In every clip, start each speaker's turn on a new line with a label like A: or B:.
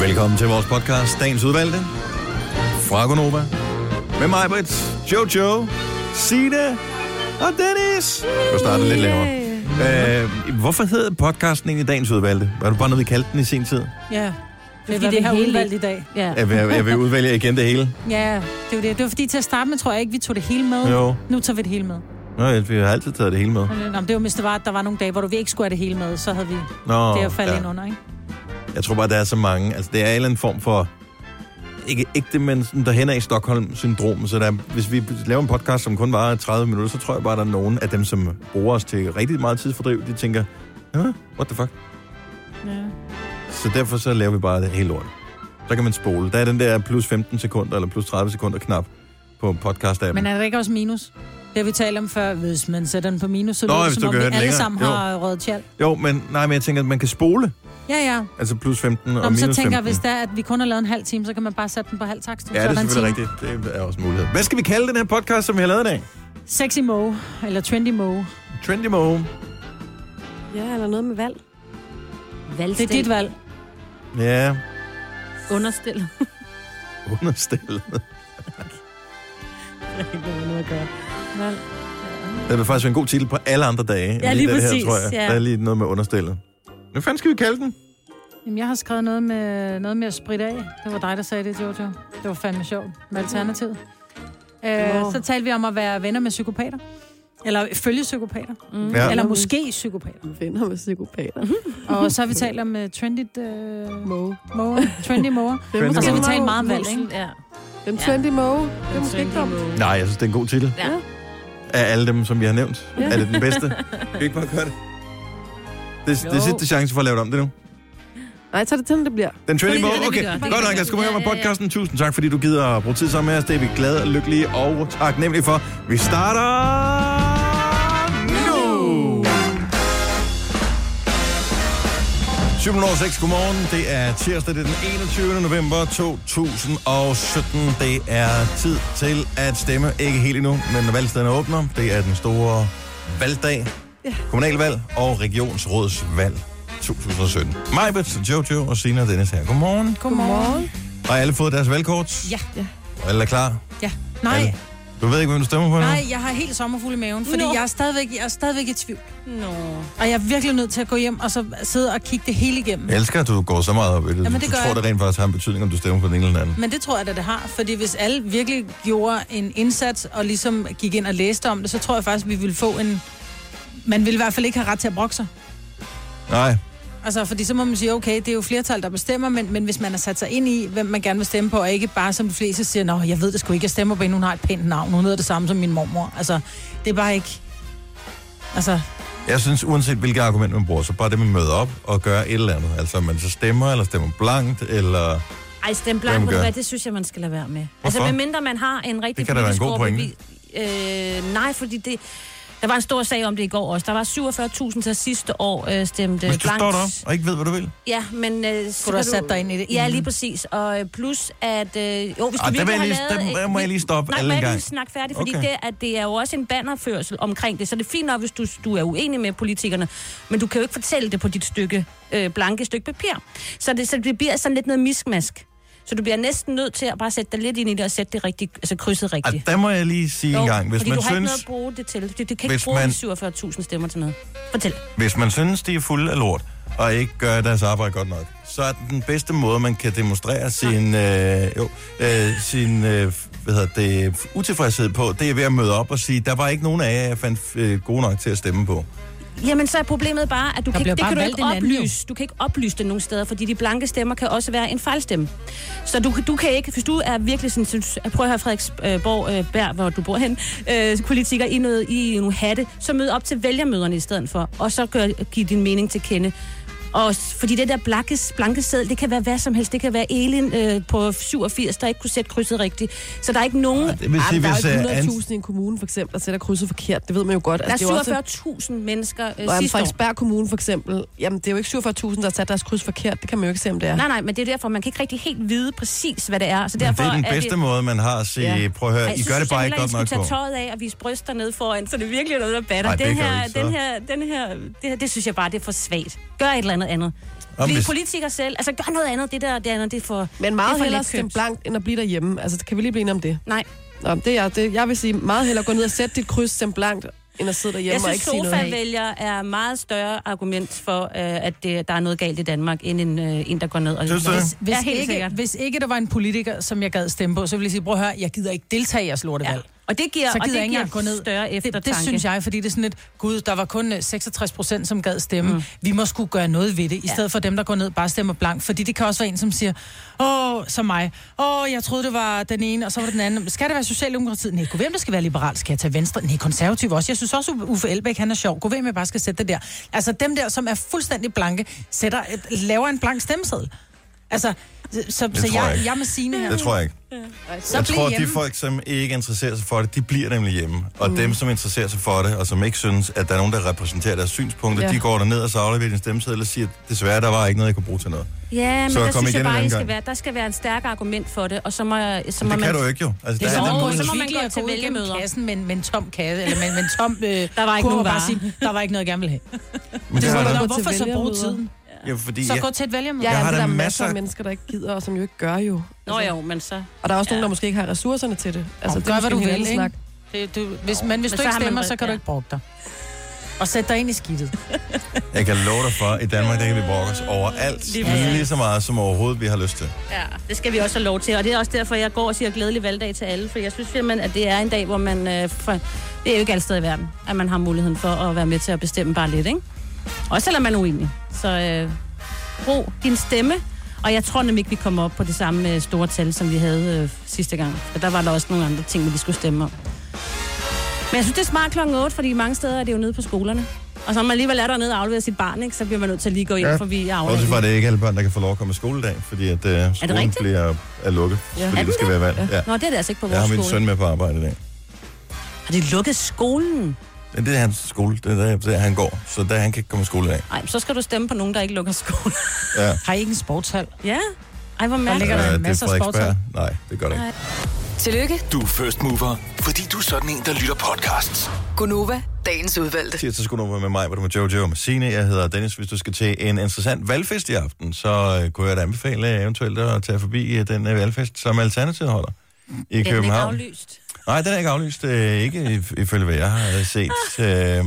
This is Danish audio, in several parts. A: Velkommen til vores podcast, Dagens Udvalgte. Fra Gonova. Med mig, Britt, Jojo, Sine og Dennis. Du starter lidt lavere. Øh, hvorfor hedder podcasten egentlig Dagens Udvalgte? Var det bare noget, vi kaldte den i sin tid?
B: Ja. Fordi
C: hvad
B: det,
C: vi
B: det
C: har
B: har udvalgt
C: udvalgt
B: i dag. Ja.
A: Jeg vil, jeg vil udvælge igen det hele.
B: ja, det er jo det. Det var fordi til at starte med, tror jeg ikke, vi tog det hele med.
A: Jo.
B: Nu tager vi det hele med.
A: Nå, ja, vi har altid taget det hele med.
B: Nå, men det var, hvis det var, at der var nogle dage, hvor du vi ikke skulle have det hele med, så havde vi
A: Nå,
B: det at falde
A: ja.
B: ja. ind under, ikke?
A: Jeg tror bare, der er så mange. Altså, det er en eller anden form for... Ikke ægte, men sådan derhen af Stockholm-syndrom. Så der, hvis vi laver en podcast, som kun varer 30 minutter, så tror jeg bare, der er nogen af dem, som bruger os til rigtig meget tidsfordriv, de tænker, "Hå? what the fuck?
B: Ja.
A: Så derfor så laver vi bare det hele lort. Så kan man spole. Der er den der plus 15 sekunder eller plus 30 sekunder knap på podcast-appen.
B: Men er der ikke også minus? Det har vi talt om før. Hvis man sætter den på minus, så
A: Nå,
B: lyder det,
A: hvis du
B: som om
A: kan
B: vi
A: høre
B: alle
A: den længere.
B: sammen
A: Jo.
B: har røget tjal.
A: Jo, men, nej, men jeg tænker, at man kan spole.
B: Ja, ja.
A: Altså plus 15
B: Nå,
A: og
B: men
A: minus
B: så tænker
A: 15.
B: jeg, hvis der er, at vi kun har lavet en halv time, så kan man bare sætte den på halv takst.
A: Ja, det er selvfølgelig rigtigt. Det er også en mulighed. Hvad skal vi kalde den her podcast, som vi har lavet i dag?
B: Sexy Mo, eller Trendy Mo.
A: Trendy Mo.
C: Ja, eller noget med valg.
B: Det er
D: Valgstil.
B: dit valg.
A: Ja,
D: Understil.
A: understillet.
D: Valg.
A: Det vil faktisk være en god titel på alle andre dage.
D: Ja, lige
A: den
D: præcis,
A: Her, tror jeg.
D: ja.
A: Der er lige noget med understillet. Hvad fanden skal vi kalde den?
B: Jamen, jeg har skrevet noget med, noget med at spritte af. Det var dig, der sagde det, Jojo. Det var fandme sjovt med alternativet. Øh,
C: Nå.
B: så talte vi om at være venner med psykopater. Eller følge psykopater.
D: Mm.
A: Ja.
B: Eller måske psykopater.
C: Venner med psykopater.
B: Og så har vi talt om uh, trendy, uh,
C: Mo.
B: mower, trendy mower.
A: Trendy
B: Og så har vi
A: Moe.
B: talt meget om valg, ikke?
D: Ja.
C: Den
D: Ja.
C: trendy mo. Det er måske ikke dumt.
D: Trendy
A: Nej, jeg synes, det er en god titel.
D: Ja.
A: Af alle dem, som vi har nævnt.
C: Ja.
A: Er det den bedste? Kan vi ikke bare gøre det? Det, det er
D: Jo.
A: sidste chance for at lave det om det nu.
C: Nej, så er det sådan, det bliver.
A: Den trendy
D: Det er
A: mode.
D: det, vi
A: Okay,
D: gør. Det er
A: godt
D: det,
A: nok.
D: vi
A: Lad os
D: gør.
A: komme i gang med
D: Ja, ja, ja.
A: podcasten. Tusind tak, fordi du gider at bruge tid sammen med os. Det er vi glade og lykkelige og taknemmelige for. Vi starter nu! 7 over 6, godmorgen. Det er tirsdag, det er den 21. november 2017. Det er tid til at stemme. Ikke helt endnu, men når valgstederne åbner. Det er den store valgdag. Kommunalvalg og regionsrådsvalg 2017. Majbet, Jojo og Sina og Dennis her. Godmorgen.
B: Godmorgen.
A: Har alle fået deres valgkort?
B: Ja.
C: Ja.
A: Og Alle er klar?
B: Ja. Nej,
A: Alle. Du ved ikke, hvem du stemmer på nu?
B: nej, jeg har helt sommerfuld i maven, fordi
D: Nå.
B: jeg, er stadigvæk, jeg er stadigvæk i tvivl.
D: Nå.
B: Og jeg er virkelig nødt til at gå hjem og så sidde og kigge det hele igennem.
A: Jeg elsker, at du går så meget op i det.
B: Jamen, det
A: du
B: gør
A: tror,
B: jeg.
A: det rent faktisk har en betydning, om du stemmer på den ene eller den anden.
B: Men det tror jeg da, det har. Fordi hvis alle virkelig gjorde en indsats og ligesom gik ind og læste om det, så tror jeg faktisk, vi ville få en... Man ville i hvert fald ikke have ret til at brokke sig.
A: Nej,
B: Altså, fordi så må man sige, okay, det er jo flertal, der bestemmer, men, men hvis man har sat sig ind i, hvem man gerne vil stemme på, og ikke bare som de fleste siger, nå, jeg ved det sgu ikke, jeg stemmer på hende, hun har et pænt navn, hun hedder det samme som min mormor. Altså, det er bare ikke... Altså,
A: Jeg synes, uanset hvilket argument man bruger, så bare det, man møder op og gør et eller andet. Altså, om man så stemmer, eller stemmer blankt, eller...
D: Ej, stem
A: Hvem
D: blank, ved du
A: gør?
D: hvad, det synes jeg, man skal lade være med. Altså,
A: Hvorfor?
D: medmindre man har en rigtig
A: Det kan da være en god
D: politisk overbevis- Øh, nej, fordi det... Der var en stor sag om det i går også. Der var 47.000 til sidste år øh, stemte
A: Hvis du
D: blankt.
A: står derop og ikke ved, hvad du vil.
D: Ja, men... Øh, så
B: kunne du have sat dig ind i det?
D: Ja,
A: Mhm.
D: lige præcis. Og øh, plus, at... Øh, jo,
A: Ah,
D: hvis du
A: der, vil
D: virkelig
A: jeg
D: har
A: lige,
D: lavet...
A: der må jeg lige stoppe
D: Nej, må
A: alle en
D: jeg
A: gang.
D: lige snakke færdigt, fordi
A: Okay.
D: okay. det, at det er jo også en bannerførsel omkring det, så det er fint nok, hvis du, du er uenig med politikerne, men du kan jo ikke fortælle det på dit stykke øh, blanke stykke papir. Så det, så det bliver sådan lidt noget miskmask. Så du bliver næsten nødt til at bare sætte dig lidt ind i det og sætte det rigtigt, altså
A: Ah,
D: krydset rigtigt.
A: der må jeg lige sige en gang. Hvis
D: fordi
A: man,
D: du har ikke noget
A: synes,
D: at bruge det til. Du, du kan
A: Hvis
D: ikke bruge
A: man-
D: de 47.000 stemmer til noget. Fortæl.
A: hvis man synes, de er fulde af lort, og ikke gør deres arbejde godt nok, så er den bedste måde, man kan demonstrere sin, øh, jo, øh, sin øh, hvad hedder det, utilfredshed på, det er ved at møde op og sige, der var ikke nogen af jer, jeg fandt øh, gode nok til at stemme på.
D: Jamen, så er problemet bare, at du, kan ikke,
B: bliver
D: det
B: bare
D: kan du
B: valgt
D: ikke
B: en anden, jo.
D: oplyse. Du kan ikke oplyse det nogen steder, fordi de blanke stemmer kan også være en fejlstemme. Så du, du kan ikke, hvis du er virkelig sådan, synes, prøv at høre Frederiksborg, øh, Bær, hvor du bor hen, øh, politiker i, noget, i nogle hatte, så mød op til vælgermøderne i stedet for, og så gør, giv din mening til kende. Og s- fordi det der blanke, blanke sædel, det kan være hvad som helst. Det kan være Elin øh, på 87, der ikke kunne sætte krydset rigtigt. Så der er ikke nogen...
A: Det vil
C: Ej,
A: sige,
C: men der
A: hvis,
C: er jo
A: øh,
C: ikke
A: ans-
C: 100.000 i en kommune, for eksempel, der sætter krydset forkert. Det ved man jo godt. Altså,
D: Der
C: det er jo også-
D: er 47.000 mennesker øh,
C: Og
D: sidste år.
C: Frederiksberg Kommune for eksempel, jamen det er jo ikke 47.000, der har sat deres kryds forkert. Det kan man jo ikke se, om det er.
D: Nej, nej, men det er derfor, man kan ikke rigtig helt vide præcis, hvad det er. Så
A: Derfor
D: derfor
A: det er den
D: det-
A: bedste måde, man har at sige, ja.
C: Ja.
A: prøv at høre,
D: Ej,
A: I
D: så
A: gør det
D: synes jeg
A: bare
D: heller
A: ikke godt
D: I
A: nok
D: skulle
A: på.
D: tage tøjet af og vise bryster ned foran, så det er virkelig noget, der batter.
A: Ej, det
D: den,
A: gør
D: her,
A: I så.
D: den her, den her, det her, det synes jeg bare, det er for svagt. Gør et eller andet noget andet.
A: Om
D: Om vi er
A: hvis-
D: politikere selv. Altså, gør noget andet. Det der, det andet, det er for...
C: Men
D: Det er
C: meget
D: for
C: hellere
D: letkøbt.
C: stemme blankt, end at blive derhjemme. Altså, kan vi lige blive enige om det?
D: Nej.
C: Nå, det er jeg, det, jeg vil sige, meget hellere gå ned og sætte dit kryds, stemme blankt, end at sidde derhjemme
D: Jeg
C: og
D: synes,
C: ikke sige noget.
D: sofavælger er meget større argument for, øh, at det, der er noget galt i Danmark, end en, øh, en der går ned og...
A: Synes du det?
D: Hvis,
B: Hvis,
D: ja, helt
B: ikke,
D: sikkert.
B: hvis ikke der var en politiker, som jeg gad stemme på, så ville jeg sige, prøv at høre, jeg giver ikke deltage i jeres
D: Ja.
B: lortevalg. Ja.
D: Og det giver,
B: Så
D: og
B: gider
D: det
B: jeg ikke
D: giver
B: engang gå ned.
D: større
B: Det,
D: eftertanke.
B: det synes jeg, fordi det er sådan et, gud, der var kun øh, 66 procent, som gad stemme. Mm. Vi må skulle gøre noget ved det, i
D: Ja.
B: stedet for dem, der går ned og bare stemmer blankt. Fordi det kan også være en, som siger, åh, som mig, åh, jeg troede, det var den ene, og så var det den anden. Skal det være Socialdemokratiet? Nej, gå hvem, der skal være liberal? Skal jeg tage Venstre? Nej, konservativ også. Jeg synes også, Uffe Elbæk, han er sjov. Gå hvem, jeg bare skal sætte det der. Altså dem der, som er fuldstændig blanke, sætter, øh, laver en blank stemmeseddel. Altså, så, så, så
A: tror jeg
B: jeg,
A: ikke.
B: jeg, med sine her.
A: Det tror jeg ikke.
B: så
A: jeg
B: bliv
A: tror,
B: hjemme.
A: de folk, som ikke interesserer sig for det, de bliver nemlig hjemme. Og mm. dem, som interesserer sig for det, og som ikke synes, at der er nogen, der repræsenterer deres synspunkter, ja.
C: Ja.
A: de går derned og så afleverer din stemmeseddel og siger, desværre, der var ikke noget, jeg kunne bruge til noget. Men
D: Ja, men
A: Så
D: der
A: kom
D: synes
A: igen
D: jeg
A: en
D: bare,
A: anden
D: I skal
A: gang.
D: være, der skal være en stærk argument for det, og så må, jeg- så må
A: det
D: man...
A: kan du jo ikke jo. Altså,
B: Det er
A: der er
B: så,
A: den
D: sådan,
B: må,
D: man-
B: så
A: mulighed.
B: må man
D: virkelig
B: gå
D: at
B: til
D: gå igennem
B: vælgemøder.
D: kassen
B: kassen med, med en tom kasse, eller med, med en tom øh,
D: Der var ikke
B: kurv,
D: nogen
B: og bare
D: varer.
B: sige, der var ikke noget, jeg gerne ville have.
A: Men det
C: må
A: har
C: man
A: jeg da-
C: gå til
B: hvorfor så bruge
C: vælgermøder.
B: tiden?
A: Ja, fordi
B: Så
A: jeg,
B: gå til et vælgermøde.
C: Ja,
A: Jeg
C: ja,
A: har
C: men
A: da
C: der er
A: masser
C: masser
A: af-
C: af mennesker, der ikke gider, og som jo ikke gør jo. Altså,
D: Nå jo, men så...
C: Og der er også
D: Ja.
C: nogen, der måske ikke har ressourcerne til det.
B: Altså,
C: det
B: gør,
C: er
B: hvad
C: måske
B: du
C: en
B: vil,
C: anden
B: ikke?
C: snak.
B: Det, du, hvis, men hvis
D: Men
B: du
D: så
B: ikke
D: har man
B: stemmer,
D: ret,
B: så kan du
D: ja.
B: ikke brokke dig. Og sæt dig ind i skidtet.
A: jeg kan love dig for, at i Danmark, der kan vi brokke os over alt,
D: præcis.
A: lige så meget som overhovedet, vi har lyst til.
D: Ja, det skal vi også have lov til, og det er også derfor, jeg går og siger glædelig valgdag til alle, for jeg synes simpelthen, at det er en dag, hvor man... Øh, for, det er jo ikke alle steder i verden, at man har muligheden for at være med til at bestemme bare lidt, ikke? Også selvom man er uenig. Så øh, brug din stemme, og jeg tror nemlig ikke, vi kommer op på det samme øh, store tal, som vi havde øh, sidste gang. For der var der også nogle andre ting, vi skulle stemme om. Men jeg synes, det er smart klokken 8, fordi mange steder er det jo nede på skolerne. Og så når man alligevel er dernede og afleverer sit barn, ikke, så bliver man nødt til at lige gå ind,
A: Ja.
D: ja. for vi er
A: Bortset fra,
D: afleveret.
A: at det er ikke alle børn, der kan få lov at komme i skole i dag, fordi at øh, skolen
D: rigtigt?
A: bliver er lukket,
C: Ja.
A: fordi
D: Er
A: det
D: den
A: skal være valg. Ja.
D: Nå, det er det altså ikke på
A: Jeg
D: vores
A: har min
D: skole.
A: søn med på arbejde i dag.
D: Har de lukket skolen?
A: Men Det er hans skole, det er der, der han går, så der han kan ikke komme i skole i dag.
D: Nej, så skal du stemme på nogen, der ikke lukker skolen.
A: Ja.
B: Har I ikke en sportshal?
D: ja? Ej, hvor
B: Der ligger
D: mærkeligt.
B: der
A: Øh,
B: en
A: det er
B: masse sportshal.
A: Frederiksberg. Nej, det gør det ikke.
E: Tillykke,
F: Du er first mover, fordi du er sådan en, der lytter podcasts.
E: Gunova, dagens udvalgte.
A: Tirsdag skulle du være med mig, hvor du med Jojo og med Signe. Jeg hedder Dennis. Hvis du skal til en interessant valgfest i aften, så øh, kunne jeg da anbefale øh, eventuelt at tage forbi øh, den øh, valgfest, som Alternativet holder i
D: Den er ikke
A: København.
D: aflyst.
A: Nej, den er ikke aflyst. Øh, ikke if- ifølge, hvad jeg har øh, set. Øh,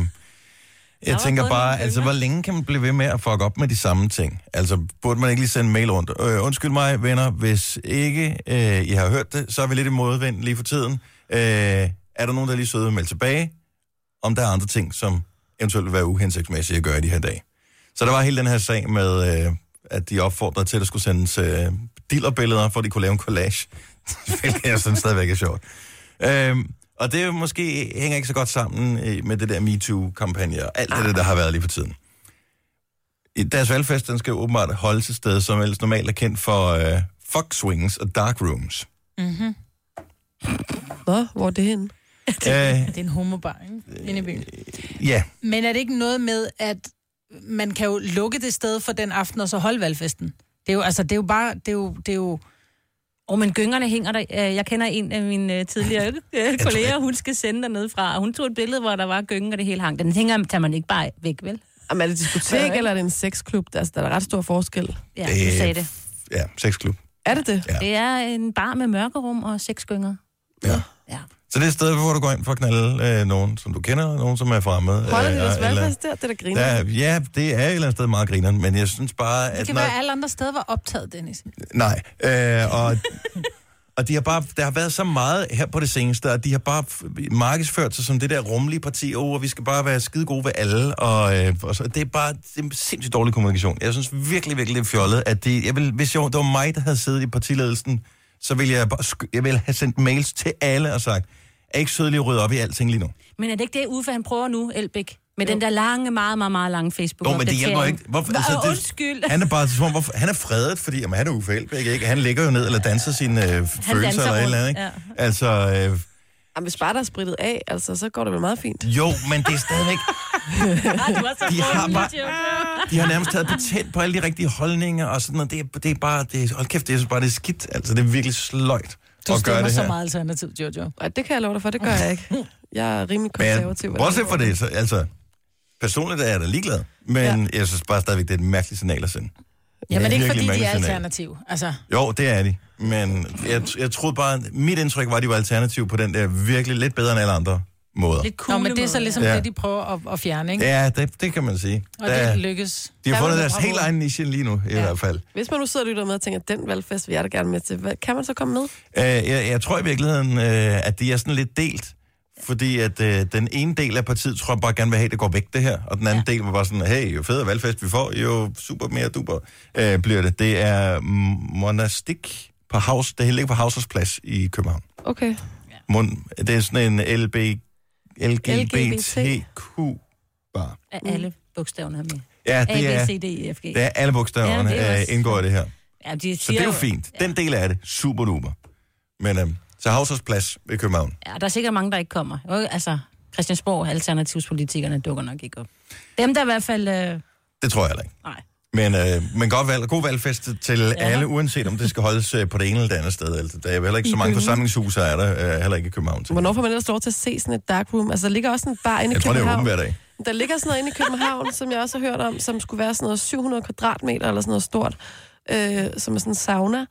A: jeg
D: var
A: tænker
D: både
A: bare,
D: nogle
A: altså, hvor længe kan man blive ved med at fuck op med de samme ting? Altså, burde man ikke lige sende en mail rundt? Øh, undskyld mig, venner, hvis ikke øh, I har hørt det, så er vi lidt i modvind lige for tiden. Øh, er der nogen, der er lige søde at melde tilbage, om der er andre ting, som eventuelt vil være uhensigtsmæssige at gøre i de her dage? Så der var hele den her sag med, øh, at de opfordrede til, at der skulle sendes øh, dillerbilleder, for at de kunne lave en collage. Hvilket jeg synes stadigvæk er sjovt. Øhm, og det er jo måske hænger ikke så godt sammen øh, med det der MeToo-kampagne og alt det, der, der har været lige for tiden. I Deres valgfest, den skal jo åbenbart holdes et sted, som ellers normalt er kendt for øh, fuck swings og dark rooms.
C: Nå, hvor er det henne?
A: Øh,
B: Det er en homobar, ikke? Inde i byen.
A: ja,
B: Men er det ikke noget med, at man kan jo lukke det sted for den aften, og så holde valgfesten? Det er jo, altså, det er jo bare, det er jo, det er jo,
D: Og men gyngerne hænger der. Øh, Jeg kender en af mine øh, tidligere øh, kolleger, hun skal sende dernede fra. og Hun tog et billede, hvor der var gyngen, og det hele hang. Den hænger, tager man ikke bare væk, vel?
C: Jamen, er det et diskotek, eller er det en sexklub? Altså, der er ret stor forskel.
D: Ja,
A: Øh,
D: du sagde det.
A: ja, sexklub.
C: Er det det?
A: ja.
D: Det er en bar med mørkerum og seks gynger.
A: Ja.
D: Ja.
A: Så det er et sted, hvor du går ind for at knalde øh, nogen, som du kender, og nogen, som er fremmede.
C: Holder de deres
A: eller-
C: valgfest der? Det er da
A: der,
C: griner.
A: ja, det er et eller andet sted meget grineren, men jeg synes bare, at...
B: det kan
A: Altså, når-
B: være, at alle andre steder var optaget, Dennis.
A: Nej, øh, og, og de har bare, der har været så meget her på det seneste, og de har bare f- markedsført sig som det der rummelige parti, oh, og vi skal bare være skide gode ved alle, og, øh, og så, det er bare det er sindssygt dårlig kommunikation. Jeg synes virkelig, virkelig, det er fjollet, at det, jeg vil, hvis jeg, det var mig, der havde siddet i partiledelsen, så ville jeg, bare, sk- jeg ville have sendt mails til alle og sagt, er I ikke søde lige at rydde op i alting lige nu?
D: Men er det ikke det, Uffe han prøver nu, Elbæk? Med den der lange, meget, meget, meget lange facebook
A: Jo, men det hjælper ikke. Hvorfor,
D: Altså, undskyld.
A: Han er bare som om, hvorfor, han er fredet, fordi jamen, han er Uffe Elbæk, ikke? Han ligger jo ned eller danser sine øh, følelser eller et
D: rundt,
A: eller andet, ikke?
D: ja.
A: Altså, øh,
C: Jamen, hvis bare der er spritet af, altså, så går det vel meget fint.
A: jo, men det er stadigvæk... De har, bare, de har nærmest taget patent på alle de rigtige holdninger og sådan noget. Det er, det er bare... Det er, hold kæft, det er bare det er skidt. Altså, det er virkelig sløjt
B: Du
A: at gøre
B: stemmer
A: det her.
B: så meget alternativ, Jojo.
C: Nej, det kan jeg love dig for, det gør jeg ikke. Jeg er rimelig
A: Men
C: konservativ. hvordan
A: bortset
C: det
A: fra
C: går.
A: det, så, altså, Personligt er jeg da ligeglad, men ja. jeg synes bare stadigvæk, det er et mærkeligt signal at sende.
B: Ja, men det er ikke
A: Virkelig
B: fordi, de er
A: mærkeligt signal.
B: alternativ. Altså,
A: Jo, det er de. Men jeg, jeg troede bare, mit indtryk var, at de var alternativ på den der virkelig lidt bedre end alle andre måder.
D: Lidt cool
B: Nå, men det er så ligesom
A: Ja.
B: ja. det, de prøver at, at fjerne, ikke? Ja.
A: Ja, det, det kan man sige.
B: Og
A: Der-
B: det lykkes.
A: de har
C: Der er
A: fundet
C: man
A: deres
C: bravo.
A: helt egen niche lige nu, i ja. hvert fald.
C: Hvis man nu sidder og lytter med og tænker, den valgfest vil jeg da gerne med til, hvad, kan man så komme med?
A: Øh, jeg, jeg tror i virkeligheden, øh, at de er sådan lidt delt. Fordi at øh, den ene del af partiet tror jeg bare gerne vil have, at det går væk det her. Og den anden ja. del var bare sådan, hey, jo federe valgfest vi får, jo super mere duper øh, bliver det. Det er mm, Monastik på House, det ligger på Hausers Plads i København.
C: Okay.
A: Mon, det er sådan en LB, LGBTQ-bar.
D: Af alle bogstaverne her med.
A: Ja,
D: A,
A: det
D: B,
A: er,
D: C, D, E, F, G.
A: det er alle bogstaverne,
D: Ja, det er
A: ja,
D: også-
A: indgår i det her.
D: Ja, de siger,
A: Så det er jo fint. Den del af det, super duper. Men øh, så Hausers Plads i København.
D: Ja, der er sikkert mange, der ikke kommer. Jo, altså, Christiansborg, alternativspolitikerne dukker nok ikke op. Dem, der i hvert fald... Øh,
A: Det tror jeg heller ikke.
D: nej.
A: Men, øh, men godt valg, god valgfest til ja. alle, uanset om det skal holdes øh, på det ene eller det andet sted. Altså, der er heller ikke så mange forsamlingshuse, er der øh, heller ikke i København. Til.
C: Hvornår får man ellers lov til at se sådan et dark room? Altså, der ligger også en bar inde i
A: Jeg tror, det er
C: København.
A: åbent hver dag.
C: Der ligger sådan noget inde i København, som jeg også har hørt om, som skulle være sådan noget 700 kvadratmeter eller sådan noget stort, øh, som er sådan en sauna.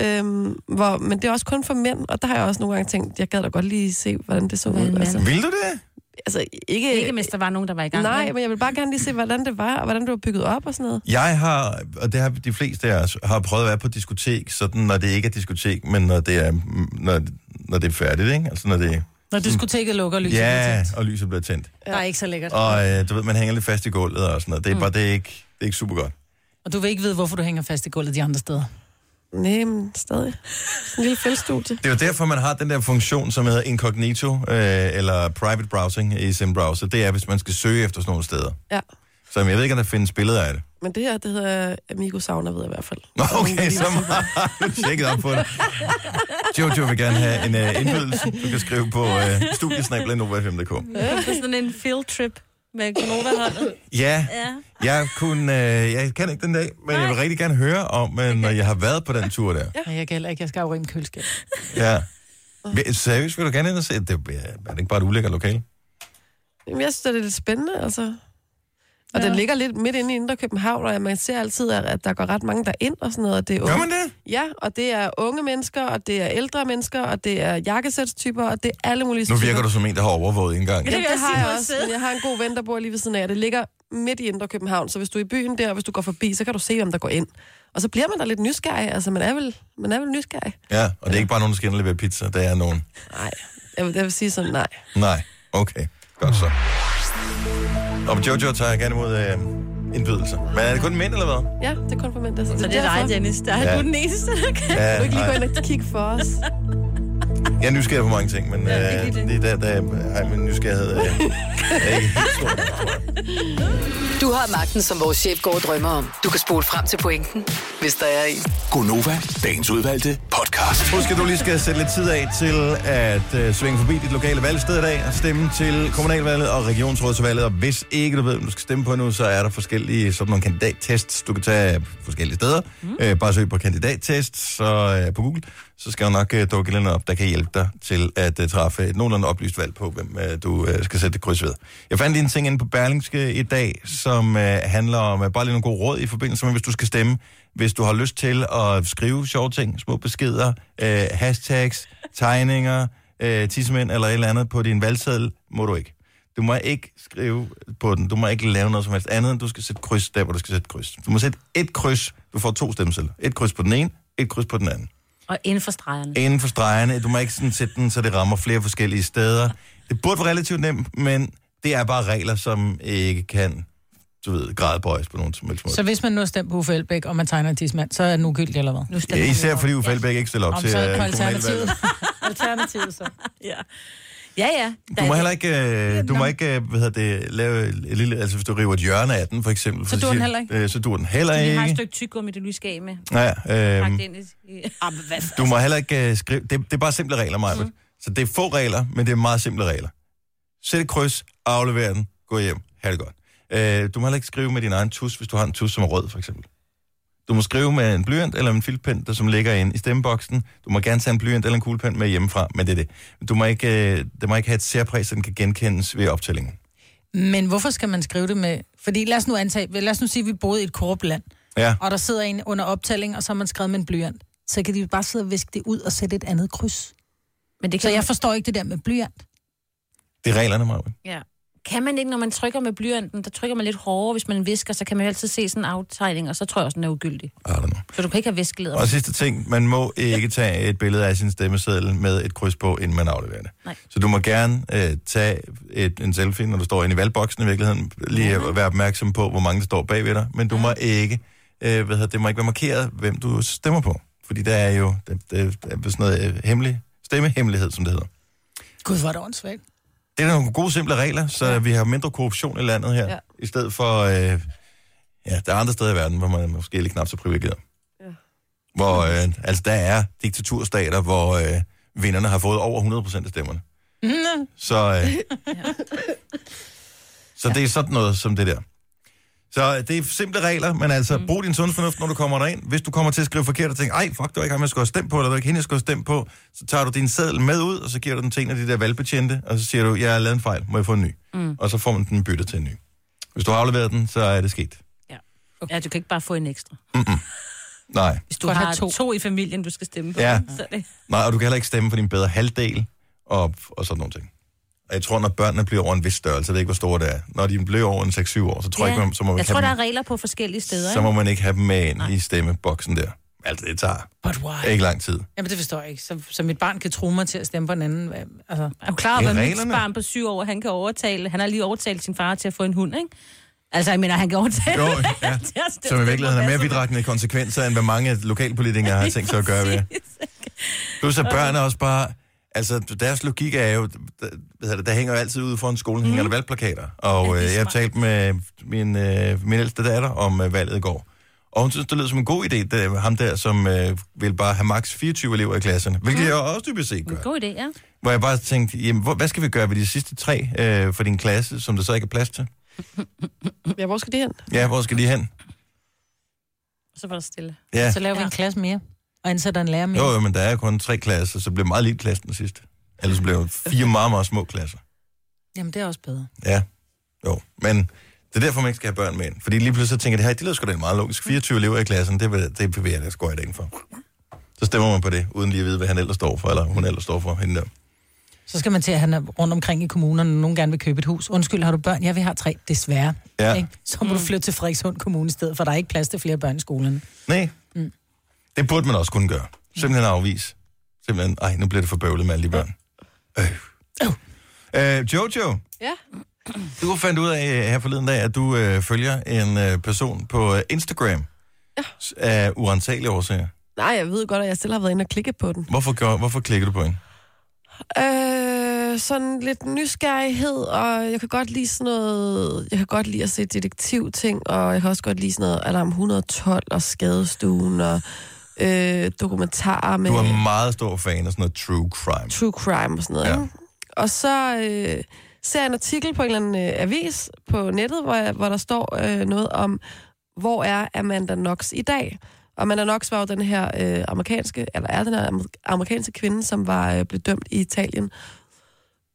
C: Øhm, hvor, men det er også kun for mænd, og der har jeg også nogle gange tænkt, jeg gad da godt lige se, hvordan det så ud.
D: Hvordan
C: Altså,
A: Vil du det?
C: altså ikke,
D: Ikke, hvis der var nogen, der var i gang.
C: Nej,
D: vel?
C: men jeg vil bare gerne lige se, hvordan det var, og hvordan det var bygget op og sådan noget.
A: Jeg har, og det har de fleste af os, har prøvet at være på diskotek, sådan når det ikke er diskotek, men når det er, når, når det er færdigt, ikke? Altså når det er,
B: Når diskoteket lukker og lyset
A: ja,
B: yeah.
A: og lyset bliver tændt.
B: der er ikke så lækkert.
A: Og øh, du ved, man hænger lidt fast i gulvet og sådan noget. Det er bare, det er ikke, det er ikke super godt.
B: Og du vil ikke vide, hvorfor du hænger fast i gulvet de andre steder.
C: Nej, men stadig. Sådan en lille feltstudie.
A: Det er jo derfor, man har den der funktion, som hedder incognito, øh, eller private browsing i sin browser. Det er, hvis man skal søge efter sådan nogle steder.
C: Ja.
A: Så jeg ved ikke, om der findes billeder af det.
C: Men det her, det hedder Amigo Sauna, ved jeg i hvert fald.
A: Nå, okay, så har du tjekket op på det. Jojo vil gerne have en uh, indbydelse, du kan skrive på uh, studiesnabla.nova5.dk.
D: Øh, Det er sådan en field trip med Gonova-holdet.
A: Ja,
D: Ja.
A: jeg, kunne, uh, jeg kan ikke den dag, men jeg vil rigtig gerne høre om, uh, når jeg har været på den tur der.
B: Ja. Jeg kan heller ikke. Jeg skal jo rent køleskab.
A: Ja. Vil- Seriøst, vil du gerne ind og se? Det er, er det ikke bare et ulækkert lokale?
C: Jamen, jeg synes, det er lidt spændende, altså. Og ja. den ligger lidt midt inde i Indre København, og man ser altid, at- at der går ret mange derind og sådan noget. Og det er unge.
A: Gør man det?
C: Ja, og det er unge mennesker, og det er ældre mennesker, og det er jakkesætstyper, og det er alle mulige
A: Nu
C: typer.
A: virker du som en, der har overvåget en gang.
C: Ja,
D: Det vil jeg
C: det har
D: sige,
C: jeg
D: du
C: også.
D: sidder.
C: Men jeg har en god ven, der bor lige ved siden af. Det ligger midt i Indre København, så hvis du er i byen der, og hvis du går forbi, så kan du se, hvem der går ind. Og så bliver man da lidt nysgerrig. Altså, man er vel, man er vel nysgerrig?
A: Ja, og det er ikke bare nogen, der skal ind og levere pizza. Der er nogen.
C: Nej, jeg vil, jeg vil sige sådan, nej.
A: Nej. Okay. Godt så. Og Jojo tager gerne imod øh, indbydelser. Men er det kun mænd, eller hvad?
C: Ja, det er kun for mænd, der
D: Så det er dig, Dennis. Der er
A: Ja.
D: ja. du den eneste, der kan.
A: Ja,
C: Du ikke lige
A: nej.
C: gå ind og kigge for os.
A: Jeg er nysgerrig på mange ting, men
D: Ja,
A: ja,
D: det
A: øh,
D: er
A: lige der, der ej, min nysgerrighed øh, er ikke helt stor.
E: Du har magten, som vores chef går og drømmer om. Du kan spole frem til pointen, hvis der er en.
F: Gonova, dagens udvalgte podcast.
A: Husk, at du lige skal sætte lidt tid af til at øh, svinge forbi dit lokale valgsted i dag og stemme til kommunalvalget og regionsrådsvalget. Og hvis ikke du ved, hvad du skal stemme på nu, så er der forskellige sådan nogle kandidattests, du kan tage forskellige steder. Mm. Øh, bare søg på kandidattest så, øh, på Google, så skal der nok øh, dukke et eller andet op, der kan hjælpe dig til at øh, træffe et nogenlunde oplyst valg på, hvem øh, du øh, skal sætte et kryds ved. Jeg fandt lige en ting inde på Berlingske i dag, som øh, handler om øh, bare lige nogle gode råd i forbindelse med, hvis du skal stemme. Hvis du har lyst til at skrive sjove ting, små beskeder, øh, hashtags, tegninger, øh, tissemænd eller et eller andet på din valgseddel, må du ikke. Du må ikke skrive på den. Du må ikke lave noget som helst andet, end du skal sætte kryds der, hvor du skal sætte kryds. Du må sætte et kryds. Du får to stemmesedler. Et kryds på den ene, et kryds på den anden
D: Og inden for stregerne.
A: inden for stregerne. Du må ikke sådan sætte den, så det rammer flere forskellige steder. Det burde være relativt nemt, men det er bare regler, som ikke kan du ved, gradbøjes på nogen som helst måde.
B: Så hvis man nu har stemt på Uffe Elbæk, og man tegner en tidsmand, så er den ugyldig, eller hvad?
D: Nu stemmer
A: Ja,
D: vi
A: især
D: over.
A: fordi Uffe Elbæk ikke stiller op
B: Om
A: til
B: så
A: øh,
B: er det på
A: kommunalvalget.
B: alternativet. alternativet så.
D: Ja, ja. ja. Der
A: Du må
D: er-
A: heller ikke, øh, du må ikke øh, hvad hedder det, lave et lille, altså hvis du river et hjørne af den, for eksempel.
B: Så dur den
A: siger-
B: heller ikke?
A: Øh, så dur den heller
D: Vi har et
A: ikke.
D: stykke tyggegummi, det du lige skal af med.
A: Ja,
D: Pak
A: øhm,
D: det ind i... Ah, men hvad
A: Du må heller ikke øh, skrive... Det, det er bare simple regler, Maja. Mm. Så det er få regler, men det er meget simple regler. Sæt et kryds, aflever den, gå hjem. Ha' det godt. Øh, du må heller ikke skrive med din egen tus, hvis du har en tus, som er rød, for eksempel. Du må skrive med en blyant eller en filtpind, der som ligger inde i stemmeboksen. Du må gerne tage en blyant eller en kuglepind med hjemmefra, men det er det. Du må ikke, øh, det må ikke have et særpræg, så den kan genkendes ved optællingen.
B: Men hvorfor skal man skrive det med... Fordi lad os nu antage, lad os nu sige, at vi boede i et korrupt land,
A: Ja.
B: og der sidder en under optælling, og så har man skrevet med en blyant. Så kan de jo bare sidde og viske det ud og sætte et andet kryds.
D: Men det kan,
B: Så jeg forstår ikke det der med blyant.
A: Det er reglerne, Marvin.
D: ja. kan man ikke, når man trykker med blyanten, der trykker man lidt hårdere, hvis man visker, så kan man jo altid se sådan en aftegning, og så tror jeg også, den er ugyldig.
A: I don't know.
D: Så du kan ikke have viskeleder.
A: Og sidste ting, man må ikke tage et billede af sin stemmeseddel med et kryds på, inden man afleverer det.
D: Nej.
A: Så du må gerne øh, tage et, en selfie, når du står inde i valgboksen i virkeligheden. Lige at være opmærksom på, hvor mange der står bagved dig. Men du må ikke, øh, hvad hedder, det må ikke være markeret, hvem du stemmer på. Fordi der er jo der, der, der er sådan noget øh, hemmelig, stemmehemmelighed, som det hedder.
B: Gud, hvor er det åndssvagt.
A: Det er nogle gode, simple regler, så ja. vi har mindre korruption i landet her. Ja.
C: Ja.
A: I stedet for, øh, ja, der er andre steder i verden, hvor man er måske er lidt knap så privilegeret. Ja.
C: Ja.
A: Hvor, øh, altså, der er diktaturstater, hvor øh, vinderne har fået over 100% af stemmerne.
C: Mm-hmm.
A: Mm. Så, øh, så det er sådan noget som det der. Så øh, det er simple regler, men altså, mm. brug din sunde fornuft, når du kommer derind. Hvis du kommer til at skrive forkert og tænker, ej, fuck, det var ikke ham, jeg skulle have stemt på, eller det var ikke hende, jeg skulle have stemt på, så tager du din seddel med ud, og så giver du den til en af de der valgbetjente, og så siger du, jeg har lavet en fejl, må jeg få en ny? Mm. Og så får man den byttet til en ny. Hvis du har afleveret den, så er det sket.
D: Okay. Ja, du kan ikke bare få en ekstra.
A: Nej.
D: Hvis du
B: Godt
D: har
B: have
D: to.
B: to.
D: to i familien, du skal stemme på,
A: Ja.
D: så er det...
A: Nej, og du kan heller ikke stemme for din bedre halvdel, og, og sådan nogle ting. Og jeg tror, når børnene bliver over en vis størrelse, jeg ved ikke, hvor store det er. Når de bliver over en 6-7 år, så tror jeg ikke, man- så må man
D: jeg
A: ikke
D: tror,
A: have
D: der
A: dem
D: er regler på forskellige steder.
A: så
D: Ikke?
A: må man ikke have dem med ind i stemmeboksen der. Altså, det tager
B: But why?
A: ikke lang tid.
B: Jamen, det forstår jeg ikke. Så, så mit barn kan true mig til at stemme på en anden. Hvad- Altså,
D: Er du klar over,
A: Det er
D: hvad mit
A: reglerne.
D: barn på syv år, han kan overtale... Han har lige overtalt sin far til at få en hund, ikke? Altså, jeg mener, han kan overtale...
A: Jo, ja.
D: til at stemme
A: Som i
D: på
A: virkeligheden har mere
D: hvad som-
A: vidtrækkende konsekvenser, end hvad mange lokalpolitikere har tænkt sig at gøre ved. Plus at børn er også bare... Altså, deres logik er jo... Der, hvad hedder det, der hænger jo altid ude foran skolen, hænger der valgplakater. Og øh, jeg talte med min, øh, min ældste datter om øh, valget i går. Og hun synes, det lød som en god idé, det, ham der, som øh, vil bare have maks 24 elever i klasserne. Hvilket jeg også typisk set gør.
D: God idé, ja.
A: Hvor jeg bare tænkte, jamen, hvor, hvad skal vi gøre ved de sidste tre øh, for din klasse, som der så ikke er plads til?
C: Ja, hvor skal det hen?
A: Ja, hvor skal de hen?
D: Så var der stille.
A: Ja.
B: så laver vi
D: Ja.
B: en klasse mere, og ansætter en lærer mere.
A: Jo, jo, men der er kun tre klasser, så det bliver meget lille klassen den sidste. Ellers bliver det fire meget, meget små klasser.
B: Jamen, det er også bedre.
A: Ja, jo. Men det er derfor, man ikke skal have børn med ind. Fordi lige pludselig så tænker jeg, det her, det lyder sgu da meget logisk. 24 elever i klassen, det, vil- det bevæger jeg, det går jeg da ikke for. Så stemmer man på det, uden lige at vide, hvad han ellers står for, eller hun ellers står for. Hende der.
B: Så skal man til at han er rundt omkring i kommunerne, og nogen gerne vil købe et hus. Undskyld, har du børn? Ja, vi har tre, desværre.
A: Ja.
B: Ikke? Så må du flytte til Frederikshund Kommune i stedet, for der er ikke plads til flere børn i skolerne.
A: Nej, mm. det burde man også kunne gøre. Simpelthen afvis. Simpelthen, ej, nu bliver det for bøvlet med alle de børn. Øh. Øh, Jojo,
C: Ja.
A: du fandt ud af øh, her forleden dag, at du øh, følger en øh, person på øh, Instagram
C: Ja.
A: s- af urensagelige årsager.
C: Nej, jeg ved godt, at jeg selv har været inde og klikke på den.
A: Hvorfor, gør, hvorfor klikker du på hende?
C: Øh, sådan lidt nysgerrighed, og jeg kan godt lide sådan noget... Jeg kan godt lide at se detektivting, og jeg kan også godt lide sådan noget Alarm 112 og Skadestuen og øh, dokumentarer med
A: Du er meget stor fan af sådan noget true crime.
C: true crime og sådan noget.
A: Ja.
C: Ja. Og så øh, ser jeg en artikel på en eller anden øh, avis på nettet, hvor, jeg, hvor der står øh, noget om, hvor er Amanda Knox i dag? Og Amanda Knox var jo den her øh, amerikanske, eller er den her amer- amerikanske kvinde, som var øh, blevet dømt i Italien.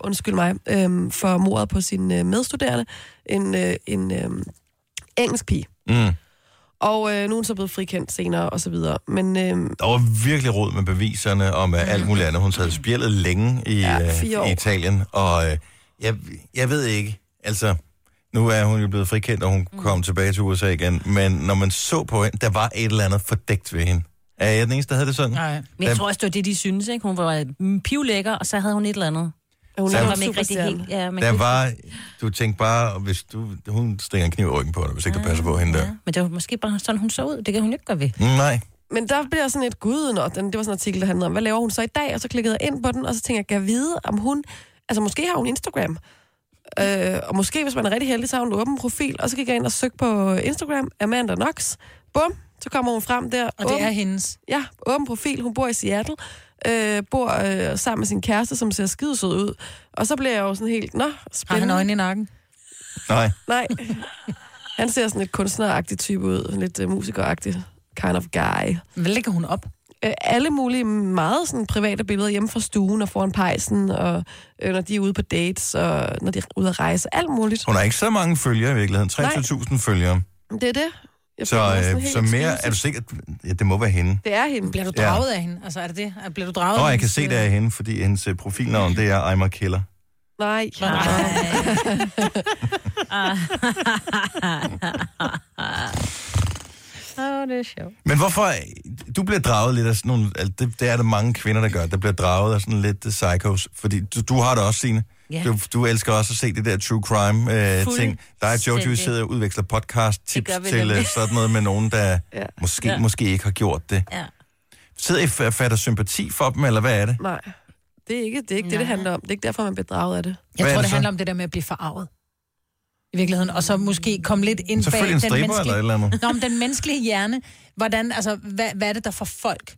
C: Undskyld mig, øh, for mordet på sin øh, medstuderende. En, øh, en øh, engelsk pige.
A: Mm.
C: Og øh, nu er hun så blevet frikendt senere, og så videre. Men øh,
A: Der var virkelig råd med beviserne og med alt muligt andet. Hun sad spjældet længe i,
C: Ja,
A: ja,
C: fire
A: i
C: år.
A: Italien, og øh, jeg, jeg ved ikke, altså, nu er hun jo blevet frikendt, og
C: Mm.
A: hun kom tilbage til USA igen, men når man så på hende, der var et eller andet fordækt ved hende. Er jeg den eneste, der havde det sådan?
B: Nej.
D: Men jeg
A: Hvem-
D: tror også, det var det, de synes, ikke? Hun var mm, pivlækker, og så havde hun et eller andet.
C: hun
A: Så
C: er
A: var
C: jo
D: var
C: en
D: man ikke rigtig
C: superstjerne.
D: helt... Ja, man
A: Der
D: kunne-
A: var, du tænkte bare, hvis du, hun stikker en kniv i ryggen på dig, hvis ikke du passer på hende der.
D: Ja, men det var måske bare sådan, hun så ud. Det kan hun jo ikke gøre ved.
A: Mm, Nej,
C: Men der bliver jeg sådan et gud, når den, det var sådan en artikel, der handlede om, hvad laver hun så i dag? Og så klikkede jeg ind på den, og så tænkte jeg, kan jeg vide, om hun... Altså, måske har hun Instagram. Øh, og måske, hvis man er rigtig heldig, så har hun en åben profil. Og så gik jeg ind og søgte på Instagram, Amanda Knox. Bum, så kommer hun frem der.
B: Og det
C: Åben-
B: er hendes.
C: Ja, åben profil. Hun bor i Seattle. Øh, bor øh, sammen med sin kæreste, som ser skidesød ud. Og så bliver jeg jo sådan helt, nå,
B: Har han
C: spændende.
B: øjne i nakken?
A: nej.
C: Nej. Han ser sådan lidt kunstneragtig type ud. Lidt øh, musikeragtig kind of guy.
B: Men lægger hun op?
C: øh, alle mulige meget sådan, private billeder hjemme fra stuen og foran pejsen, og øh, når de er ude på dates, og når de er ude at rejse, alt muligt.
A: Hun har ikke så mange følgere i virkeligheden. 23.000 følgere.
C: Det er det. Jeg
A: Så,
C: føler mig sådan
A: øh,
C: helt
A: så mere
C: eksklusiv.
A: er du sikker... Ja, det må være hende.
C: Det er hende.
B: Bliver du
A: Ja.
B: draget af hende? Altså, er det det? Er- Bliver du draget
A: Nå,
B: af
A: jeg kan
B: hendes,
A: se, det
B: øh,
A: er hende, fordi hendes øh, profilnavn, det er Eimer Killer.
C: Nej.
B: Ah. Åh, det er sjovt.
A: Men hvorfor... Du bliver draget lidt af sådan nogle... altså, Det, det er det mange kvinder, der gør. Der bliver draget af sådan lidt øh, psychos. Fordi du, du har det også, Signe.
D: Ja.
A: Du, du elsker også at se det der true crime-ting. der er Jojo, vi
D: Fuldstændig.
A: sidder og udveksler podcast-tips
D: Det gør vi
A: til øh,
D: nemlig.
A: sådan noget med nogen, der ja.
C: Ja.
A: måske, ja.
D: Ja.
A: måske ikke har gjort det.
D: Ja.
A: Sidder I og fatter sympati for dem, eller hvad er det?
C: Nej. Det er ikke det, er ikke det, det handler om. Det er ikke derfor, man bliver draget af det.
B: Jeg
A: Hvad er
B: tror,
A: det
B: det
A: så?
B: handler om det der med at blive forarvet. I virkeligheden. Og så måske komme lidt ind bag
A: Selvfølgelig en
B: den
A: striber eller et
B: menneskelige...
A: eller andet.
B: Nå, men den menneskelige hjerne. Hvordan, altså, hvad, hvad er det, der får folk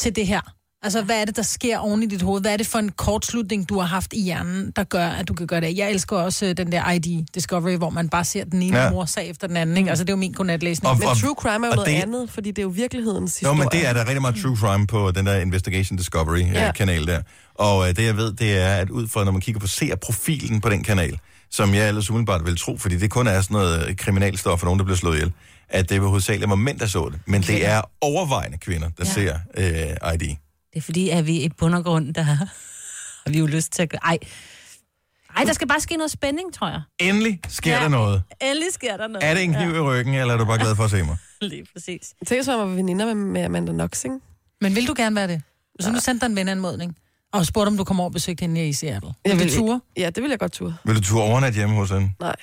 B: til det her? Altså, hvad er det, der sker oven i dit hoved? Hvad er det for en kortslutning, du har haft i hjernen, der gør, at du kan gøre det? Jeg elsker også øh, den der ID Discovery, hvor man bare ser den ene
A: Ja. Mm.
B: ja. morsag efter den anden. Ikke? Altså, det er jo min godnatlæsning.
A: Og-
B: Og...
C: Men
A: og-
C: true crime er
A: og
C: jo noget
A: det-
C: det... andet, fordi det er jo virkelighedens
A: Jo,
C: historie.
A: men det er der rigtig meget true crime på den der Investigation
C: Ja.
A: Discovery-kanal der. Og øh, det jeg ved, det er, at ud fra, når man kigger på ser-profilen på den kanal, som jeg ellers umiddelbart vil tro, fordi det kun er sådan noget øh, kriminalstof for nogen, der bliver slået ihjel, at det var hovedsageligt var mænd, der så det. Men det er overvejende kvinder, der ja.
D: Ja.
A: ser øh, ID.
D: Det er fordi, at vi i bund og grund, der har vi jo lyst til at gøre... Ej. Ej, der skal bare ske noget spænding, tror jeg.
A: Endelig sker ja.
D: Ja.
A: der noget.
D: Endelig sker der noget.
A: Er det en kniv ja. i ryggen, eller er du bare glad for at se mig?
D: Ja, lige præcis.
C: Tænk hvis man var veninder med, med Amanda Knox, ikke?
B: Men vil du gerne være det? Så nu sendte dig en venanmodning og spurgte, om du kom over og besøgte hende i Seattle. Jeg vil
C: ville-
B: du ture?
C: Ja, det ville jeg godt turde.
A: Vil du turde overnat hjemme hos hende?
C: Nej.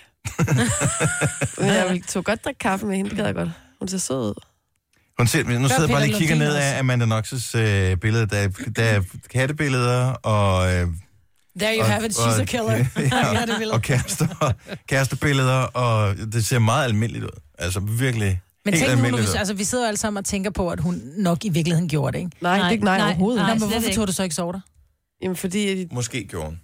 C: Men jeg ville turde godt drikke kaffe med hende, det gad jeg godt. Hun ser sød ud.
A: Hun ser, nu sidder jeg bare
B: Peter
A: lige og kigger
B: Lundin
A: ned af
B: også.
A: Amanda Knox's øh, billede. Der, er- der er kattebilleder, og... Øh,
B: There you
A: Og-
B: have it, she's
A: og-
B: a killer.
A: ja,
B: ja, det vil.
A: og kærester, kærestebilleder, og det ser meget almindeligt ud. Altså virkelig
B: Men
A: helt
B: tænk nu, når vi,
A: almindeligt ud.
B: altså, vi sidder jo alle sammen og tænker på, at hun nok i virkeligheden gjorde det, ikke?
C: Nej, nej det er ikke nej, nej overhovedet.
B: Nej,
C: Nej.
B: Nå, men
D: slet
B: hvorfor
D: ikke.
B: tog du så ikke sove dig?
C: Jamen, fordi... at de-
A: Måske gjorde hun,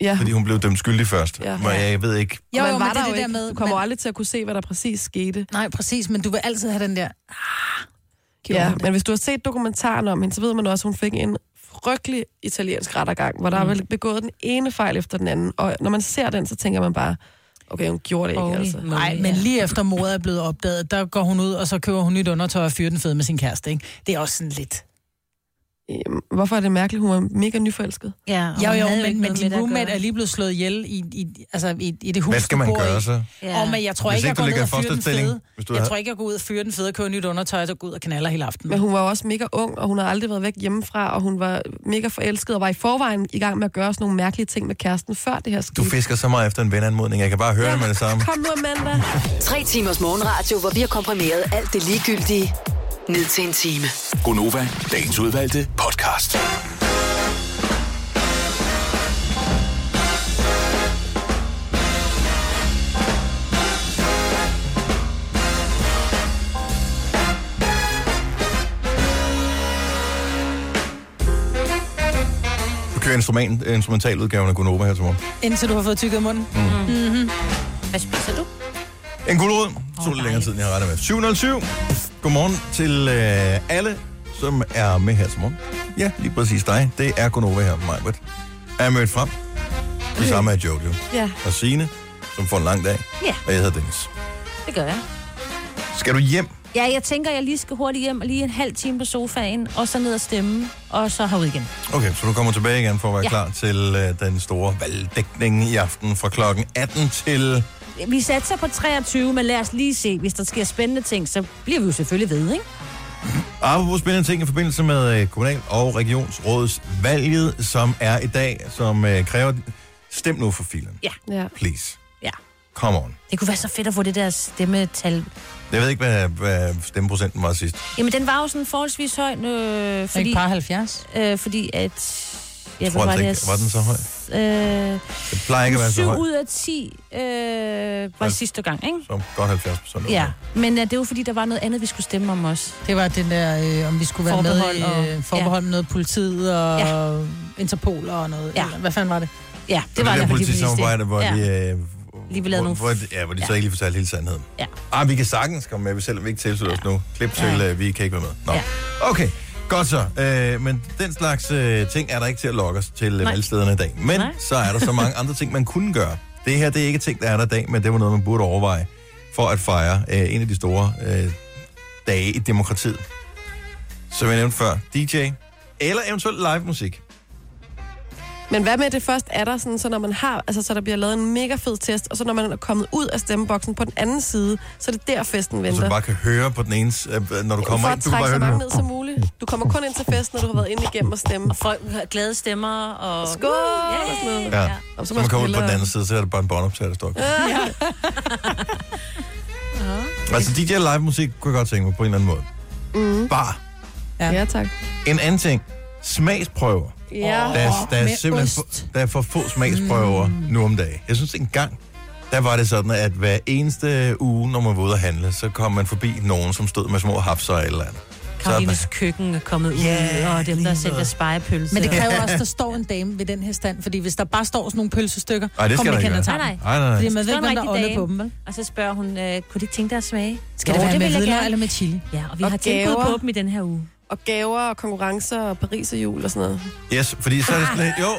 C: Ja,
A: fordi hun blev dømt skyldig først. Ja.
C: Ja.
A: Men jeg ved ikke,
B: Jo,
C: man
B: jo,
C: var
B: men det
C: der
B: er det
C: jo
B: der
C: ikke.
B: med...
C: Du kommer
B: man-
C: aldrig til at kunne se, hvad der præcis skete.
B: Nej, præcis, men du vil altid have den der... Ah, gjorde
C: Ja,
B: hun det?
C: men hvis du har set dokumentaren om hende, så ved man også, at hun fik en frygtelig italiensk rettergang, hvor der mm. er begået den ene fejl efter den anden. Og når man ser den, så tænker man bare, okay, hun gjorde det ikke,
D: Holy
C: altså.
D: moly,
B: Nej, men
D: ja.
B: lige efter mordet er blevet opdaget, der går hun ud, og så køber hun nyt undertøj og fyrer den fede med sin kæreste, ikke? Det er også sådan lidt...
C: Jamen, Hvorfor er det mærkeligt? Hun var mega nyforelsket.
D: Ja, og
B: Jo,
D: hun
B: jo,
D: havde
B: men,
D: ikke
B: men
D: noget med
B: din
D: det at
B: roommate
D: gøre.
B: er lige blevet slået ihjel i, i, altså, i, i det hus,
A: hvad skal man
B: du bor
A: gøre
B: i.
A: så?
B: Ja. Og, men jeg tror
A: Hvis
B: ikke, jeg
A: ikke du
B: går ned
A: ligger i
B: og fyrer den
A: fosterstilling,
B: fede.
A: hvis du
B: Jeg
A: havde-
B: tror ikke, jeg går ud og fyrer den fede og køber nyt undertøj, og så går ud og knaller hele aftenen.
C: Men hun var jo også mega ung, og hun har aldrig været væk hjemmefra, og hun var mega forelsket, og var i forvejen i gang med at gøre sådan nogle mærkelige ting med kæresten, før det her skete.
A: Du fisker så meget efter en venanmodning, jeg kan bare høre ja. det med det samme.
C: Kom nu, Amanda.
E: Tre timers morgenradio, hvor vi har komprimeret alt det ligegyldige ned til en time.
F: Gonova, dagens udvalgte podcast.
A: Du kører instrument, instrumentaludgaven af Gunova her til morgen.
B: Indtil du har fået tykket i munden.
D: Hvad spiser du?
A: En guldrød. Så lidt længere tid, end jeg har regnet med. 707. Godmorgen til øh, alle, som er med her til morgen. Ja, lige præcis dig. Det er Gunova her, Majbert. Er mødt frem. Det samme er Jojo.
C: Ja.
A: Og Signe, som får en lang dag.
D: Ja.
A: Og jeg hedder Dennis.
D: Det gør jeg.
A: Skal du hjem?
D: Ja, jeg tænker, jeg lige skal hurtigt hjem og lige en halv time på sofaen, og så ned og stemme, og så herud igen.
A: Okay, så du kommer tilbage igen for at være ja.
D: Ja.
A: klar til øh, den store valgdækning i aften fra klokken 18 til...
D: Vi satser på 23, men lad os lige se. Hvis der sker spændende ting, så bliver vi jo selvfølgelig ved, ikke?
A: Apropos spændende ting i forbindelse med øh, kommunal- og regionsrådsvalget, som er i dag, som øh, kræver... Stem nu for filen.
C: Ja.
A: Please.
D: Ja.
A: Come on.
D: Det kunne være så fedt at få det der stemmetal.
A: Jeg ved ikke, hvad, hvad stemmeprocenten var sidst.
D: Jamen, den var jo sådan forholdsvis høj, øh,
B: Fordi...
D: fordi,
B: Ikke par 70?
D: øh, fordi at... Ja,
A: tror
D: hvad
A: altså ikke,
D: det, jeg-
A: var den så høj?
D: Øh,
A: Det plejer ikke at være så
D: 7
A: højt.
D: ud af 10 øh, var
A: Ja.
D: sidste gang, ikke?
A: Så godt 70 procent.
D: Ja, men øh, det var fordi, der var noget andet, vi skulle stemme om også.
B: Det var den der, øh, om vi skulle være
D: Forbehold
B: med i øh,
D: og-
B: forbehold med noget politiet og ja.
D: Ja.
B: Interpol og noget.
D: Ja.
B: Eller, hvad fanden var det?
D: Ja, det,
A: Det
D: var
A: var det der
D: derfor, de ville
A: politisamarbejde,
D: stemme.
A: hvor
D: ja.
A: de... Øh,
D: Lige vi lavede
A: hvor,
D: nogle-
A: hvor, de- ja, hvor de så
D: Ja.
A: ikke lige fortalte hele sandheden.
D: Ja.
A: Ah, vi kan sagtens komme med, selvom vi ikke tilslutter os nu. Klip til,
D: Ja.
A: øh, vi kan ikke være med. Nå.
D: Ja.
A: Okay, Godt så. Øh, men den slags øh, ting er der ikke til at lokke os til øh,
D: Nej.
A: valgstederne i dag. Men
D: Nej.
A: så er der så mange andre ting, man kunne gøre. Det her, det er ikke ting, der er der i dag, men det var noget, man burde overveje for at fejre øh, en af de store øh, dage i demokratiet. Som jeg nævnte før, DJ eller eventuelt live musik.
C: Men hvad med at det først er der sådan, så når man har, altså så der bliver lavet en mega fed test, og så når man er kommet ud af stemmeboksen på den anden side, så er det der festen
A: Så
C: venter.
A: du bare kan høre på den ene, s- øh, når du
C: for
A: kommer
C: at
A: ind. Du kan
C: trække
A: bare
C: så
A: høre
C: mange
A: den.
C: ned som muligt. Du kommer kun ind til festen, når du har været inde igennem og stemme.
D: Og folk har glade stemmer og...
C: Skål! og sådan noget.
A: Ja.
D: Ja.
C: Og
A: Så man kommer ud på
C: hellere-
A: den anden side, så er det bare en båndoptager, der står. Ja. altså DJ live musik kunne jeg godt tænke mig på en eller anden måde. Mm. Bare
C: Ja, tak.
A: En anden ting. Smagsprøver.
C: Ja.
A: Der er, der er
B: med
A: simpelthen
B: ost.
A: for, der er for få smagsprøver mm. nu om dagen. Jeg synes engang, der var det sådan, at hver eneste uge, når man var ude at handle, så kom man forbi nogen, som stod med små hapser eller et eller andet. Så er
D: Karolines køkken er kommet ud,
A: Ja,
D: yeah, og dem,
A: lige
D: der sælger
A: noget.
D: spejepølse.
B: Men det kræver også, at der står en dame ved den her stand, fordi hvis der bare står sådan nogle pølsestykker,
A: Ej, det skal
B: kommer
A: der
B: man
A: ikke
B: ikke
A: være.
B: at tage
D: Nej,
B: dem.
D: nej.
A: Nej, nej,
B: Fordi
A: nej.
B: man ved
D: Står
B: ikke,
D: en
B: hvem der
D: rigtig
B: ånder på
D: dame.
B: dem, vel?
D: Og så spørger hun, øh, kunne de ikke tænke dig at smage?
B: Skal det
D: Jo,
B: være med
D: vil jeg
B: vidner
D: gerne.
B: eller med chili?
D: Ja, og vi
C: Og
D: har tænkt
C: gaver.
D: på dem i den her uge.
C: Og gaver og konkurrencer og Paris og jul og sådan noget.
A: Yes, fordi så er det sådan lidt, jo.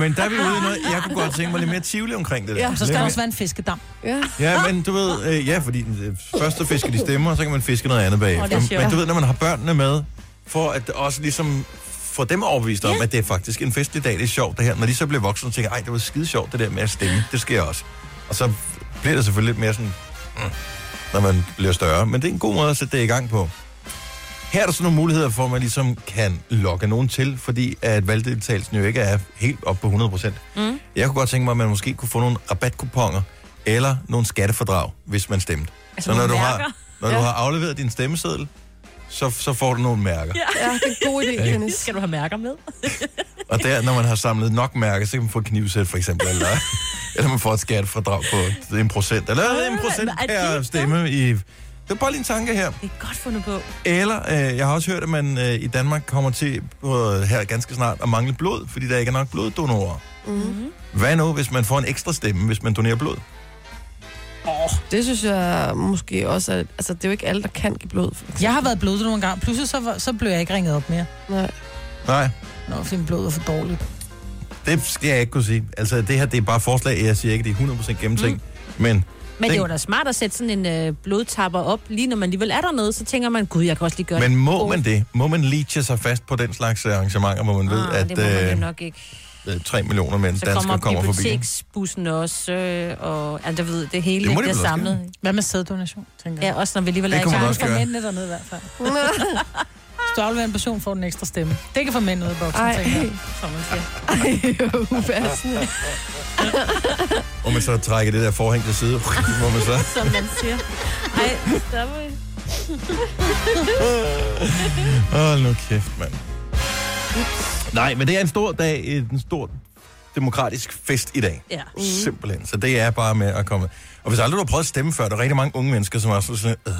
A: Men der er vi ude i noget, jeg kunne godt tænke mig lidt mere tvivl omkring det. der.
C: Ja,
B: Så skal
A: Lidt
B: der også være en fiskedam.
C: Ja.
A: Ja, men du ved, øh, ja, fordi øh, først så fisker de stemmer, og så kan man fiske noget andet
D: Åh, det er
A: bagefter.
D: sjovt.
A: Men du ved, når man har børnene med, for at også ligesom få dem overbevist om, at det er faktisk en festlig dag, det er sjovt det her. Når de så bliver voksne, så tænker jeg, ej, det var skide sjovt det der med at stemme, det sker også. Og så bliver det selvfølgelig lidt mere sådan, mm, når man bliver større. Men det er en god måde at sætte det i gang på. Her er der så nogle muligheder for, at man ligesom kan lokke nogen til, fordi at valgdeltagelsen jo ikke er helt op på 100 procent. Mm. Jeg kunne godt tænke mig, at man måske kunne få nogle rabatkuponger eller nogle skattefordrag, hvis man stemte.
D: Altså
A: så når,
D: nogle
A: du har,
D: mærker.
A: når du har afleveret din stemmeseddel, så, så får du nogle mærker. Ja.
C: ja, det er en god idé,
A: Ja.
D: Det
C: Dennis.
D: skal du have mærker med.
A: Og der, når man har samlet nok mærker, så kan man få et knivsæt for eksempel, eller, eller man får et skattefordrag på en procent, eller en procent
D: er det
A: per
D: dumt?
A: stemme i... Det er bare lige en tanke her.
D: Det er godt fundet på.
A: Eller, øh, jeg har også hørt, at man øh, i Danmark kommer til på, øh, her ganske snart at mangle blod, fordi der ikke er nok bloddonorer.
D: Mm-hmm.
A: Mm. Hvad nu, hvis man får en ekstra stemme, hvis man donerer blod?
C: Det synes jeg måske også, at, altså det er jo ikke alle, der kan give blod. for eksempel.
B: Jeg har været blodet nogle gange. Pludselig så, var- så blev jeg ikke ringet op mere.
C: Nej.
A: Nej,
B: Nå, fordi min blod var for dårligt.
A: det skal jeg ikke kunne sige. Altså, det her, det er bare forslag. Jeg siger ikke, det er 100% gennemtænkt. Mm. Men
D: Men det
A: Den-
D: var da smart at sætte sådan en øh, blodtapper op, lige når man alligevel er dernede, så tænker man, gud, jeg kan også lige gøre
A: Men
D: det.
A: må man det? Må man leache sig fast på den slags øh, arrangementer, hvor man ved,
D: Ah, det må
A: at
D: man
A: øh,
D: jo nok ikke.
A: øh, 3 millioner mænd
D: Så
A: danskere
D: kommer,
A: kommer forbi?
D: biblioteksbussen også, øh, og ja, der ved, det hele
A: Det
D: det
A: må de
D: bliver
A: vel også
D: samlet.
B: Hvad med sæddonation, tænker jeg?
D: Ja, også når vi alligevel
A: Det
D: er i
A: kunne man
D: gang.
A: også
B: For
A: gøre.
B: mændene dernede i hvert fald. Hvis du afleverer en person, får den ekstra stemme. Det kan få mænd ud i boksen,
C: Ej.
B: tænker jeg. som man siger.
C: Upassende.
A: Og man så trækker det der forhæng til side, må man så...
D: Som man siger. Ej, stop.
A: Åh, oh, nu kæft, mand. Nej, men det er en stor dag, en stor demokratisk fest i dag.
D: Ja.
A: Mm. Simpelthen. Så det er bare med at komme. Og hvis aldrig du har prøvet at stemme før, der er rigtig mange unge mennesker, som er sådan, øh,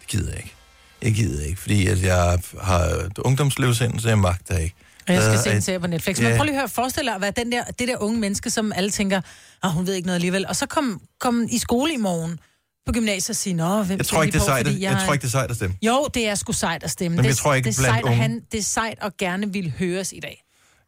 A: det gider jeg ikke. Jeg gider ikke, fordi at jeg har ungdomsløvsind, så jeg magter ikke.
B: Og jeg skal
A: Øh,
B: se
A: øh,
B: en serie på Netflix. Men
A: ja.
B: prøv lige at høre, forestil dig at være den der, det der unge menneske, som alle tænker, at hun ved ikke noget alligevel. Og så kom, kom i skole i morgen på gymnasiet og sige, nå, hvem
A: Jeg
B: skal
A: tror ikke, det er
B: lige på,
A: sejt.
B: fordi
A: at- Jeg tror ikke, det er sejt at stemme.
B: Jo, det er sgu sejt at stemme.
A: Men
B: det,
A: jeg tror ikke
B: det er
A: blandt
B: sejt, at
A: unge.
B: han, det er sejt at gerne vil høres i dag.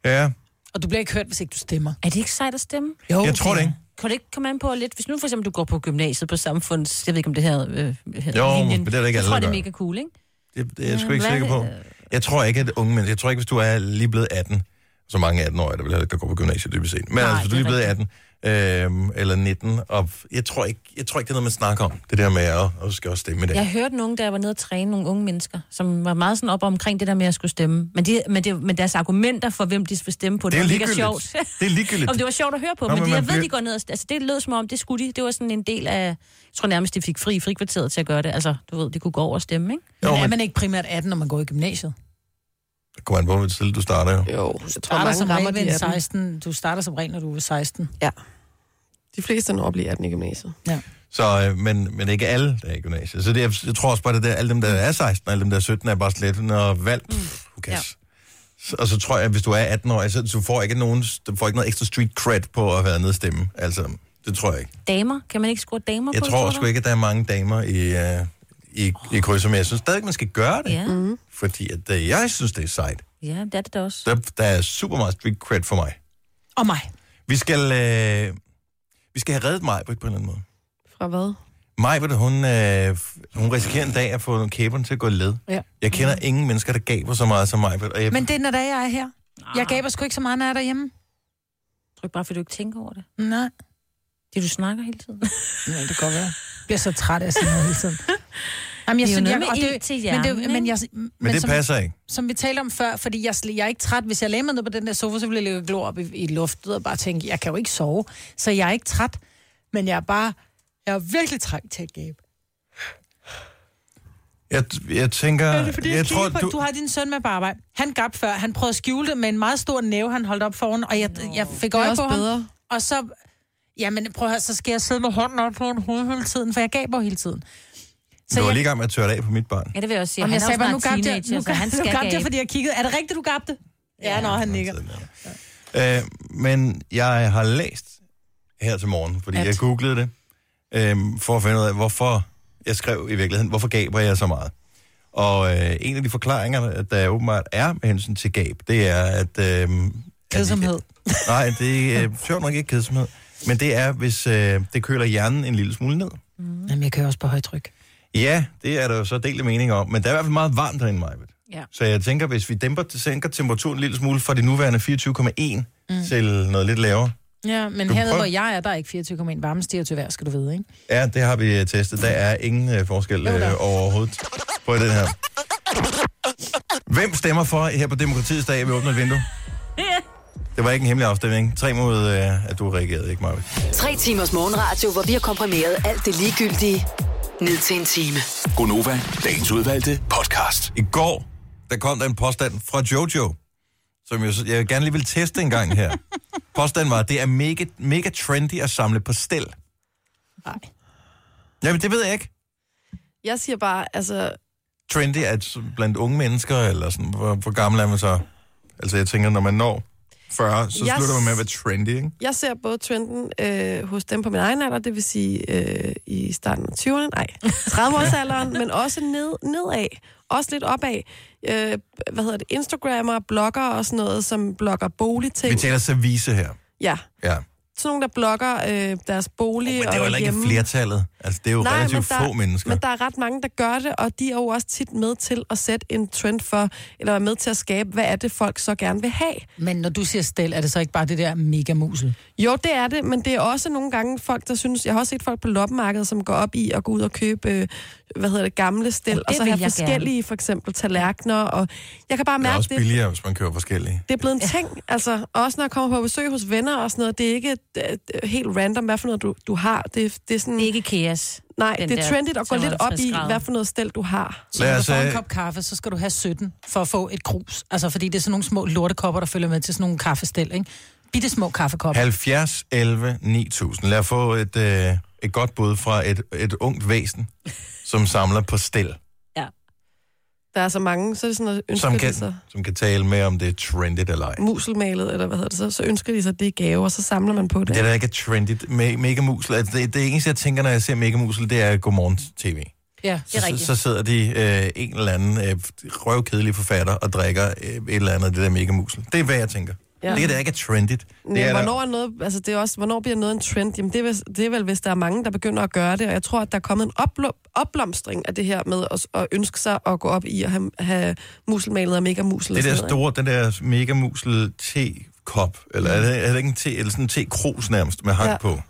A: Ja,
B: Og du bliver ikke hørt, hvis ikke du stemmer.
D: Er det ikke sejt at stemme?
B: Jo,
A: jeg tror det
B: er-
A: ikke.
D: Kan det ikke komme an på lidt, hvis nu for eksempel du går på gymnasiet på samfunds, jeg ved ikke om det her, øh, her
A: Jo,
D: linjen,
A: men det er der ikke alle,
D: jeg tror,
A: der
D: det er
A: gør.
D: mega cool, ikke?
A: Det, det er jeg sgu ikke
D: Hvad
A: sikker
D: er
A: på.
D: det?
A: Jeg tror ikke, at unge mennesker... Jeg tror ikke, hvis du er lige blevet 18, så mange 18-årige, der vil have, der går på gymnasiet dybest set. Men Nej,
D: Nej,
A: altså, hvis du
D: det
A: lige
D: er
A: er blevet 18 øhm, eller 19, og jeg tror, ikke, jeg tror ikke, det er noget, man snakker om. Det der med, at "Åh, du skal også stemme i dag. Ja.
D: Jeg hørte nogen, der var nede og træne nogle unge mennesker, som var meget sådan op omkring det der med, at jeg skulle stemme. Men, de, men, det, men deres argumenter for, hvem de skulle stemme på,
A: Det er
D: var mega
A: ligegyldigt.
D: sjovt.
A: Det er ligegyldigt.
D: Om det var sjovt at høre på,
A: Nå,
D: Nå, men,
A: men
D: de,
A: man
D: jeg ved,
A: bliver-
D: de går ned og... Altså, det lød som om, det skulle de. Det var sådan en del af... Jeg tror nærmest, de fik fri i frikvarteret til at gøre det. Altså, du ved, de kunne gå over og stemme, ikke?
A: Jo,
B: Men er
A: men-
B: man ikke primært 18, når man går i gymnasiet?
A: Det kommer an på, hvor tidligt du starter jo.
C: Jo, jeg tror,
B: Starter
C: mange
B: som
C: rammer
B: regel
C: de
B: ved en
C: 18.
B: 16. Du starter som regel, når du er 16.
C: Ja. De fleste når at blive 18 i gymnasiet.
A: Så, øh, men, men ikke alle, der er i gymnasiet. Så det, jeg, jeg tror også bare, det der, alle dem, der er 16 og alle dem, der er 17, er bare slet når valg.
D: Mm.
A: Pff, who cares? Så- Og så tror jeg, at hvis du er 18 år, så du får ikke, nogen, du får ikke noget ekstra street cred på at være nede og stemme. Altså, det tror jeg ikke.
D: Damer? Kan man ikke score damer
A: Jeg
D: på?
A: tror
D: du?
A: sgu ikke, at der er mange damer i, øh, i, i krydser, men jeg synes stadig, man skal gøre det.
D: Ja. Mm.
A: Fordi at, øh, jeg synes, det er sejt.
D: Ja, det er det da også.
A: Der, der er super meget street cred for mig.
B: Og mig.
A: Vi skal, øh, vi skal have reddet mig på en eller anden måde.
C: Fra hvad?
A: Majbert, hun, øh, hun risikerer en dag at få kæberne til at gå i led.
B: Ja.
A: Jeg kender ingen mennesker, der gaber så meget som Majbert. Og jeg,
B: Men det er, når der er, jeg er her. Jeg gaber sgu ikke så meget, når jeg er derhjemme.
D: Tror ikke Ah, bare, fordi du ikke tænker over det.
B: Nej.
D: Det, du snakker hele tiden.
B: Ja, det kan godt være. Jeg bliver så træt af at sige noget hele tiden. Jamen, jeg
D: Det er jo noget
B: synes, jeg,
D: med
B: og
D: ild til
B: men, det, er
D: hjernen,
B: jo- men, jeg,
A: men det
B: som,
A: passer ikke.
B: som vi talte om før, fordi jeg, sl- jeg er ikke træt. Hvis jeg lagde mig ned på den der sofa, så ville jeg ligge og glo op i, i luftet og bare tænke, jeg kan jo ikke sove. Så jeg er ikke træt, men jeg er bare, jeg er virkelig trængt til at gabe.
A: Jeg, jeg tænker...
B: Er det, fordi
A: jeg
B: jeg tror, på, du... du har din søn med på arbejde. Han gab før. Han prøvede at skjule det med en meget stor næve, han holdt op foran, og jeg, jeg fik øje på
C: også
B: ham.
C: bedre.
B: Og så... Jamen, prøv at høre, så skal jeg sidde med hånden op på en hoved hele tiden, for jeg gaber hele tiden.
A: du
B: Så
A: var
B: jeg,
A: lige i gang med at tørre det af på mit barn.
D: Ja, det vil jeg også sige.
B: om
D: han
B: jeg
D: er
B: sagde
D: jo
B: bare, nu
D: snart
B: gabte jeg,
D: teenager,
B: nu,
D: så han
B: gabte-
D: skal
B: nu gabte jeg,
D: gabe.
B: fordi jeg kiggede. Er det rigtigt, du gabte? Ja, ja når
A: altså,
B: han nikker.
A: Ja. Øh, men jeg har læst her til morgen, fordi At...
C: At?
A: jeg googlede det, øh, for at finde ud af, hvorfor jeg skrev i virkeligheden, hvorfor gaber jeg så meget. Og øh, en af de forklaringer, der åbenbart er med hensyn til gab, det er, at... Øh,
B: Kedsomhed.
A: At, nej, det er øh, sjovt nok ikke kedsomhed. Men det er, hvis øh, det køler hjernen en lille smule ned.
B: Jamen, jeg kører også på højtryk.
A: Ja, det er der jo så delte meninger om, men der er i hvert fald meget varmt herinde, Majbet.
D: Ja.
A: Så jeg tænker, hvis vi dæmper, sænker temperaturen en lille smule fra de nuværende 24,1 mm. til noget lidt lavere.
B: Ja, men
A: Du
B: hernede,
A: prøv-
B: hvor jeg er, der er ikke 24,1 varmestiger til vejr, skal du vide, ikke?
A: Ja, det har vi øh, testet. Der er ingen øh, forskel øh, overhovedet på den her. Hvem stemmer for her på Demokratiets dag, at vi åbner et vindue? Det var ikke en hemmelig afstemning. Tre mod, øh, at du reagerede, ikke, Marvitt?
E: Tre timers morgenradio, hvor vi har komprimeret alt det ligegyldige ned til en time.
F: Gonova, dagens udvalgte podcast.
A: I går, der kom der en påstand fra Jojo, som jeg, jeg gerne lige vil teste en gang her. Påstanden var, at det er mega, mega trendy at samle på stel.
B: Nej.
A: Jamen, det ved jeg ikke.
C: Jeg siger bare, altså,
A: Trendy er et- blandt unge mennesker, eller sådan, hvor, hvor gammel er man så? Altså, jeg tænker, når man når 40, så
C: Jeg
A: slutter man med at
C: s-
A: være trendy, ikke?
C: jeg ser både trenden øh, hos dem på min egen alder, det vil sige øh, i starten af 20'erne, nej, 30-årsalderen, men også ned, nedad, også lidt opad. Øh, hvad hedder det, Instagrammer, blogger og sådan noget, som blogger boligting.
A: Vi taler service her.
C: Ja,
A: Ja.
C: sådan nogle, der blogger øh, deres bolig
A: Men det
C: og
A: er jo heller ikke
C: hjemme.
A: flertallet. Altså, det er jo Nej, relativt
C: men der,
A: få mennesker.
C: Men der er ret mange, der gør det, og de er jo også tit med til at sætte en trend for, eller er med til at skabe, hvad er det, folk så gerne vil have.
B: Men når du siger stel, er det så ikke bare det der mega musel?
C: Jo, det er det, men det er også nogle gange folk, der synes... Jeg har også set folk på loppemarkedet, som går op i at gå ud og købe, øh, hvad hedder det, gamle stel,
D: det
C: og så
D: vil
C: have
D: jeg
C: forskellige, for eksempel tallerkener, og jeg kan bare
A: det er
C: mærke
A: også
C: det.
A: billigere, hvis man kører forskellige.
C: Det er blevet en ting, altså også når jeg kommer på besøg hos venner og sådan noget, det er ikke øh, øh, helt random, hvad for noget du, du har. Det, det er sådan,
D: Det er ikke kaos.
C: nej,
D: den
C: det er
D: der
C: trendigt at gå lidt op i,
D: 55 grader.
C: hvad for noget stel du har.
B: Så
A: Lad
B: når du
A: os,
B: får
A: øh,
B: en kop kaffe, så skal du have 17 for at få et krus. Altså, fordi det er sådan nogle små lortekopper, der følger med til sådan nogle kaffestel, ikke? Bitte små kaffekopper.
A: 70, 11, 9000. Lad os få et, øh, et godt bud fra et, et ungt væsen, som samler på stel,
D: Ja.
C: Der er så mange, så er det sådan, at ønsker
A: som kan,
C: de sig
A: som kan tale med, om det er trendy eller ej.
C: muselmalet, eller hvad hedder det så, så ønsker de sig, det er gave, og så samler man på det.
A: Det er da ikke er trendy. Me- mega musel. Altså, det, det eneste, jeg tænker, når jeg ser mega musel, det er godmorgen tv.
B: Ja.
D: Det er
A: Så,
D: rigtigt.
A: så sidder de øh, en eller anden øh, røvkedelig forfatter og drikker øh, et eller andet af det der mega musel. Det er, hvad jeg tænker. Ja.
C: Ja.
A: Det er da ikke er trendy. Det
C: Det
A: er
C: er
A: da-
C: hvornår, er noget, altså det er også, hvornår bliver noget en trend? Jamen det, er, vel- det er vel, hvis der er mange, der begynder at gøre det, og jeg tror, at der er kommet en opblom- opblomstring af det her med at, at ønske sig at gå op i at have, have muselmalet og mega musel.
A: Det der store, den der mega musel te-kop, eller er det, er det ikke en te, eller sådan en te-krus nærmest med hak ja.
C: Ja.
A: på?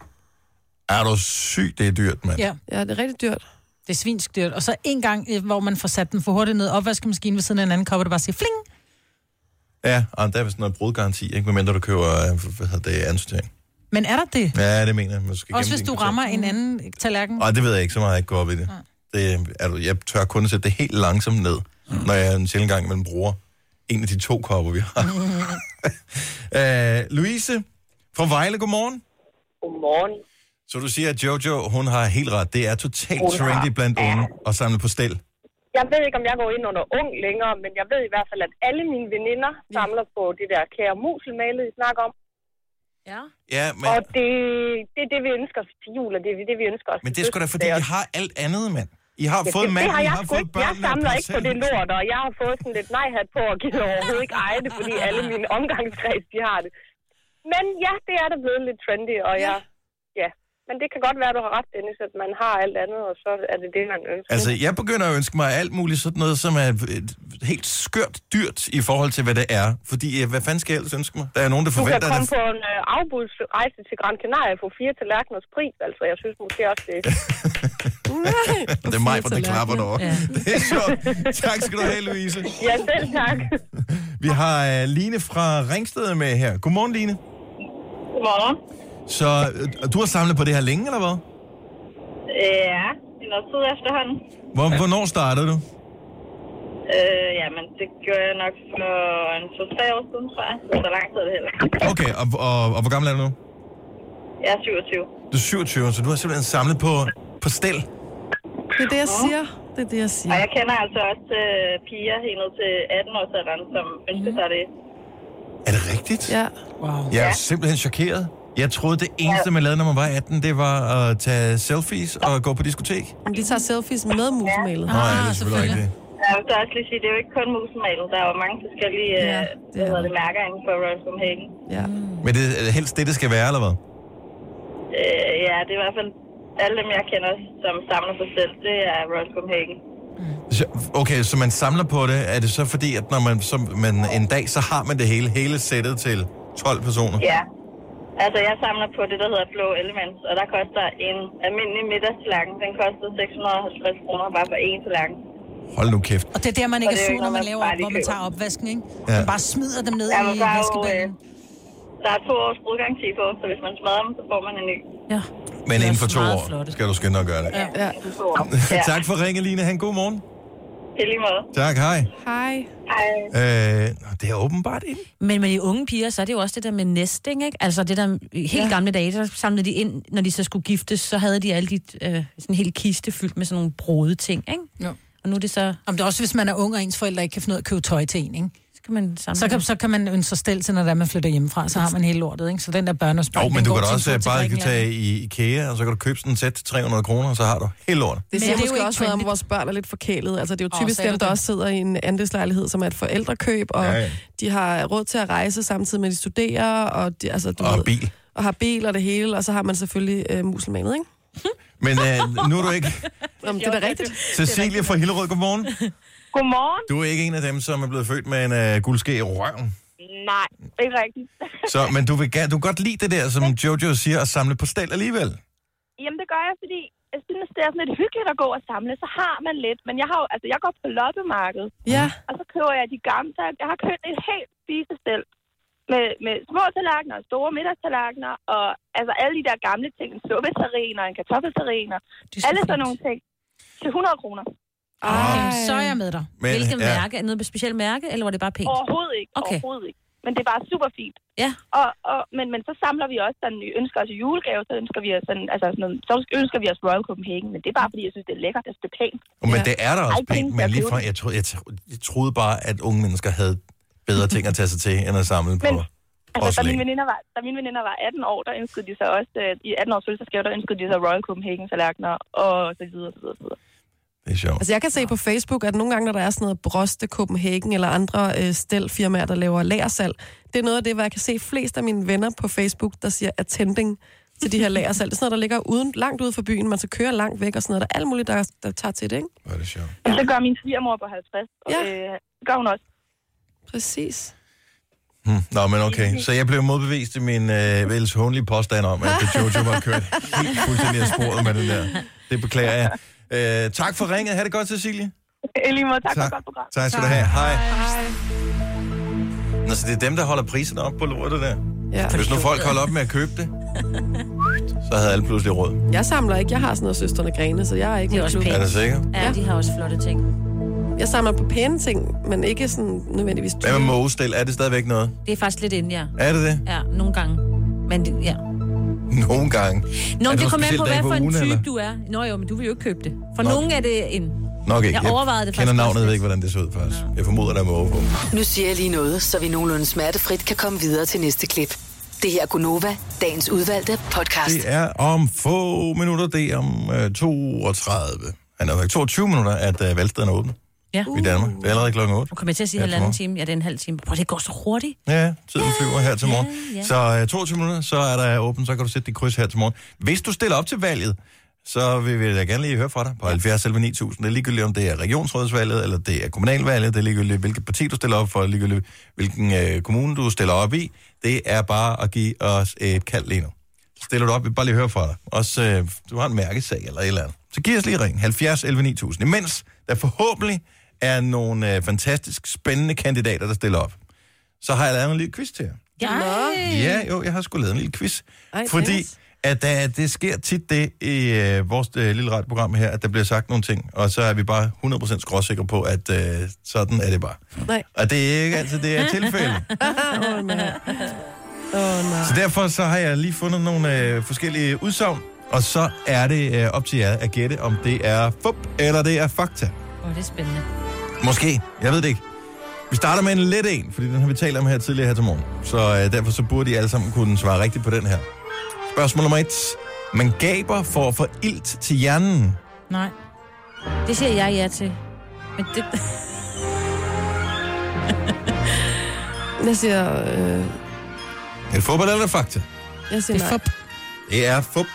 A: Er du syg, det er dyrt, mand.
B: ja.
C: Ja, det er rigtig dyrt.
B: Det er svinsk dyrt. Og så en gang, øh, hvor man får sat den for hurtigt ned, opvaskemaskinen ved siden af en anden kop, og det bare siger fling.
A: Ja, og der er vist noget brudgaranti, ikke? Medmindre du køber, øh, hvad hedder det, ansøgning.
B: Men er der det?
A: Ja, det mener jeg. Man skal
B: Også
A: gemme
B: hvis
A: din
B: du
A: karton.
B: rammer en anden tallerken.
A: Ej, det ved jeg ikke så meget, jeg ikke går op i det. det er, du, jeg tør kun at sætte det helt langsomt ned,
B: Mm.
A: når jeg en sjældent gang imellem bruger en af de to kopper, vi har. øh, Louise fra Vejle, godmorgen.
G: Godmorgen.
A: Så du siger, at Jojo, hun har helt ret. Det er totalt
G: Hun har-
A: trendy blandt unge at samle på stel.
G: Jeg ved ikke, om jeg går ind under ung længere, men jeg ved i hvert fald, at alle mine veninder
A: Mm.
G: samler på det der kære muselmalet, I snakker om.
D: Ja.
A: Ja, men,
G: Og det, det er det, vi ønsker os til jul, og det er det, vi ønsker os
A: men
G: til
A: det er sgu da, fordi
G: fødselsdag.
A: de har alt andet, mand. I har
G: Ja,
A: fået
G: det,
A: manden,
G: det har
A: I
G: jeg
A: har
G: sgu
A: fået
G: ikke. Jeg
A: børnene og
G: samler ikke på det
A: placeringen.
G: lort, og jeg har fået sådan lidt nej-hat på og gider overhovedet ikke eje det, fordi alle mine omgangskreds, de har det. Men ja, det er da blevet lidt trendy, og jeg, ja. Men det kan godt være, du har ret, Dennis, at man har alt andet, og så er det det, man ønsker.
A: Altså, jeg begynder at ønske mig alt muligt sådan noget, som er et helt skørt dyrt i forhold til, hvad det er. Fordi, øh, hvad fanden skal jeg ellers ønske mig? Der er nogen, der
G: du kan
A: forventer, at
G: komme
A: der...
G: på en øh, afbudsrejse til Gran Canaria og få fire tallerkeners pris. Altså, jeg synes måske også, det
C: Nej.
A: Det er mig, der klapper derovre. Ja. Det er sjovt. Tak skal du have, Louise.
G: Ja, selv tak.
A: Vi har øh, Line fra Ringsted med her. Godmorgen, Line.
G: Godmorgen.
A: Så øh, du har samlet på det her længe, eller hvad?
G: Ja, det er noget tid efterhånden.
A: Hvor, hvornår startede du?
G: Øh, jamen, det gjorde jeg nok for en to-tre år siden, tror jeg. Så lang tid er det heller.
A: Okay, og, og, og hvor gammel er du nu?
G: Jeg er 27.
A: Du er 27, så du har simpelthen samlet på, på stel.
C: Det er det, jeg siger. Det er det, jeg
G: Og
C: siger.
G: jeg kender altså også øh, piger helt ned til 18-årsalderen, som ønsker sig det.
A: Er det rigtigt?
C: Ja.
A: Jeg er simpelthen chokeret. Jeg troede, det eneste, man lavede, når man var 18, det var at tage selfies og gå på diskotek. Nå,
C: Men de tager selfies med musemalet.
A: ja, det er selvfølgelig
B: selvfølgelig.
A: rigtigt.
G: Jeg vil så også lige sige, det er jo ikke kun musemalet. Der er jo mange forskellige
C: Ja, det
G: øh,
C: er
G: hvad hedder
C: der.
G: det, mærker inden for Royal Copenhagen.
C: Ja.
A: Men det er helst det, det skal være, eller hvad?
G: Øh, ja, det er i hvert fald alle dem, jeg kender, som samler på selv, det er Royal Copenhagen.
A: Så- Okay, så man samler på det. Er det så fordi, at når man, så, man en dag, så har man det hele, hele sættet til 12 personer?
G: Ja. Altså, jeg samler på det, der hedder Blå Elements, og der koster en almindelig middagstallerken. Den koster 650 kroner bare for én tallerken.
A: Hold nu kæft.
B: Og det er der, man ikke
G: Og det
B: er
G: er jo
B: sur,
G: ikke
B: når
G: noget,
B: man
G: man
B: laver,
G: bare lige
B: hvor man
G: køber.
B: tager opvasken, ikke?
A: Ja.
B: Man bare smider dem ned
G: Ja, men
B: i
G: der er jo,
B: vaskeballen.
G: Der er to års brudgaranti på, så hvis man smadrer dem, så får man en ny.
D: Ja.
A: Men inden for to
D: meget
A: år
D: flot.
A: skal du skynde dig at gøre det. Ja.
C: ja.
G: Ja.
A: tak for ringen, Line. Han god morgen.
G: Det er lige måde.
A: Tak, hej.
C: Hej.
G: Hej.
A: Øh, nå, det er åbenbart ind.
D: Men med de unge piger, så er det jo også det der med nesting, ikke? Altså det der i helt ja. gamle dage, der samlede de ind, når de så skulle giftes, så havde de alle de, øh, sådan en hel kiste fyldt med sådan nogle brode ting, ikke?
B: Jo.
D: Og nu er det så,
B: Om det er også, hvis man er ung, og ens forældre ikke kan finde ud af at købe tøj til en, ikke?
D: så kan man samle
B: Så
G: Mm.
B: kan, så kan man ønske sig stel til, når det er, man flytter hjemmefra, så har man hele lortet, ikke? Så den der børnehospital,
A: Jo, men
B: den
A: du
B: går
A: kan da
B: til en
A: også
B: tur
A: øh,
B: til
A: bare kan
B: Grækenland.
A: tage i IKEA, og så kan du købe sådan et sæt til 300 kroner, og så har du helt lort.
C: Det siger
B: det er jo
C: måske
B: ikke
C: også noget om, at
B: trendy.
C: vores børn er lidt forkælet. Altså, det er jo
B: Åh,
C: typisk
B: sagde
C: dem,
B: du
C: der
B: det?
C: også sidder i en andelslejlighed, som er et forældrekøb, og
A: Ja, ja.
C: de har råd til at rejse samtidig med, at de studerer, og, de, altså, du
A: Og
C: ved,
A: bil.
C: og har bil og det hele, og så har man selvfølgelig øh, muselmanet, ikke?
A: Men øh, nu er du ikke...
C: Om det er da rigtigt.
A: Cecilie fra Hillerød, godmorgen.
G: Godmorgen.
A: Du er ikke en af dem, som er blevet født med en øh, guldske i røven.
G: Nej, ikke rigtigt.
A: Så, men du, vil, ga- du kan godt lide det der, som Jojo siger, at samle på stel alligevel.
G: Jamen, det gør jeg, fordi jeg synes, det er sådan lidt hyggeligt at gå og samle. Så har man lidt, men jeg har jo, altså, jeg går på loppemarkedet,
C: Ja,
G: og så køber jeg de gamle. Så jeg har købt et helt spisestel med, med små tallerkener og store middagstallerkener, og altså alle de der gamle ting, en suppetarin og en kartoffeltarin, og
D: Det er så
G: alle sådan
D: fint.
G: nogle ting til 100 kroner.
B: Ej, Ah, så er jeg med dig.
A: Men,
D: Hvilket ja. mærke? Er det noget specielt mærke, eller var det bare pænt?
G: Overhovedet ikke,
D: Okay.
G: okay. overhovedet ikke. Men det er bare super fint.
D: Ja.
G: Og, og, men, men så samler vi også sådan, vi ønsker os i julegave, så ønsker vi os sådan, altså sådan noget, så ønsker vi os Royal Copenhagen, men det er bare fordi, jeg synes, det er lækkert, jeg synes, det er pænt.
A: Men
C: Ja.
A: det er der også
G: Ej,
A: pænt,
G: tænk,
A: men
G: jeg
A: lige
G: blev
A: fra,
G: det.
A: jeg, troede, jeg, tro- jeg troede bare, at unge mennesker havde bedre ting at tage sig til, end at samle på.
G: Men- Altså, da
A: Porcelæn.
G: mine, veninder var, da mine veninder var 18 år, der ønskede de sig også, øh, i 18 års fødselsdagsgave, der ønskede de sig Royal Copenhagen-tallerkener, og så videre, så videre, så videre.
A: Det er sjovt.
C: Altså, jeg kan se på Facebook, at nogle gange, når der er sådan noget Broste, Copenhagen eller andre øh, stelfirmaer, der laver lagersalg, det er noget af det, hvor jeg kan se flest af mine venner på Facebook, der siger attending til de her lagersalg. Det er sådan noget, der ligger uden, langt ude for byen, man skal køre langt væk og sådan noget. Der er alt muligt, der, der tager til det, ikke?
A: Hvor er det sjovt.
G: Ja. Det gør min svigermor på 50, og
C: Ja.
G: ja. øh, det gør hun også.
C: Præcis.
A: Hmm. Nå, men okay. Så jeg blev modbevist i min øh, vel håndlige påstand om, at det Jojo var kørt helt fuldstændig af sporet med den der. Det beklager jeg. Øh, tak for ringet. Ha' det godt, Cecilie.
G: I lige måde, tak, tak. for
A: Tak.
G: et godt program.
A: Tak skal du have. Hej. Nå, så det er dem, der holder priserne op på lortet der.
C: Ja.
A: Hvis nu folk holder op med at købe det, så havde alle pludselig råd.
C: Jeg samler ikke. Jeg har sådan noget søsterne grene, så jeg er ikke
D: Det er
C: med
D: også
C: klubben.
A: Er det sikkert?
D: Ja, de har også flotte ting.
C: Jeg samler på pæne ting, men ikke sådan nødvendigvis
A: Hvad med
C: dyre.
A: mågestil? Er det stadigvæk noget?
D: Det er faktisk lidt inden, ja.
A: Er det det?
D: Ja, nogle gange. Men det, ja.
A: Nogle gange.
D: Nå,
A: Er
D: men
A: der
D: det
A: nogle
D: kommer an
A: specielle dage
D: på, hvad
A: på
D: for en
A: ugen,
D: type
A: eller?
D: du er. Nå jo, men du vil jo ikke købe det. For
A: Nå.
D: nogen er det en...
A: Nok ikke.
D: Jeg overvejede det
A: kender
D: faktisk
A: navnet,
D: også
A: jeg ved
D: lidt.
A: ikke, hvordan det ser ud faktisk. Jeg formoder, der er måge på.
E: Nu siger jeg lige noget, så vi nogenlunde smertefrit kan komme videre til næste klip. Det her er Gunova, dagens udvalgte podcast.
A: Det er om få minutter. Det er om øh, 32. Han er jo ikke 22 minutter, at øh, valgsteden er åben
D: Ja.
A: i Danmark. Det er allerede klokken 8.
D: Nu kommer jeg til at sige
A: Ja,
D: ja, halvanden
A: til
D: time. Ja, det er en halv time. Prøv, det går så hurtigt.
A: Ja, tiden flyver her til morgen.
D: Ja, ja.
A: Så øh, 22 minutter, så er der åben, så kan du sætte dit kryds her til morgen. Hvis du stiller op til valget, så vil vi da gerne lige høre fra dig på 70 selv 9000. Det er ligegyldigt, om det er regionsrådsvalget, eller det er kommunalvalget, det er ligegyldigt, hvilket parti du stiller op for, ligegyldigt, hvilken øh, kommune du stiller op i. Det er bare at give os et kald lige nu. Stiller du op, vi vil bare lige høre fra dig. Også, øh, du har en mærkesag eller et eller andet. Så giv os lige ring, 70 11 9000. Imens der forhåbentlig er nogle øh, fantastisk spændende kandidater, der stiller op så har jeg lavet en lille quiz til jer.
D: Ja.
A: Ja, jo, jeg har sgu lavet en lille quiz.
C: Ej,
A: fordi
C: Dennis.
A: at der, det sker tit det i øh, vores øh, lille radioprogram her, at der bliver sagt nogle ting, og så er vi bare 100% skråsikre på, at øh, sådan er det bare.
C: Nej.
A: Og det er ikke altid det er tilfældet.
C: Åh, oh, nej. Åh, oh, nej.
A: Så derfor så har jeg lige fundet nogle øh, forskellige udsagn, og så er det øh, op til jer at gætte, om det er fup eller det er fakta.
D: Åh, det er spændende.
A: Måske. Jeg ved det ikke. Vi starter med en let en, fordi den har vi talt om her tidligere her til morgen. Så øh, derfor så burde I alle sammen kunne svare rigtigt på den her. Spørgsmål nummer et. Man gaber for at få ilt til hjernen.
B: Nej.
D: Det siger jeg ja til. Men det...
C: Jeg siger, øh,
A: Er det fodbold eller fakta?
C: jeg siger
B: Det er
C: nej.
B: fup.
A: Det er fup.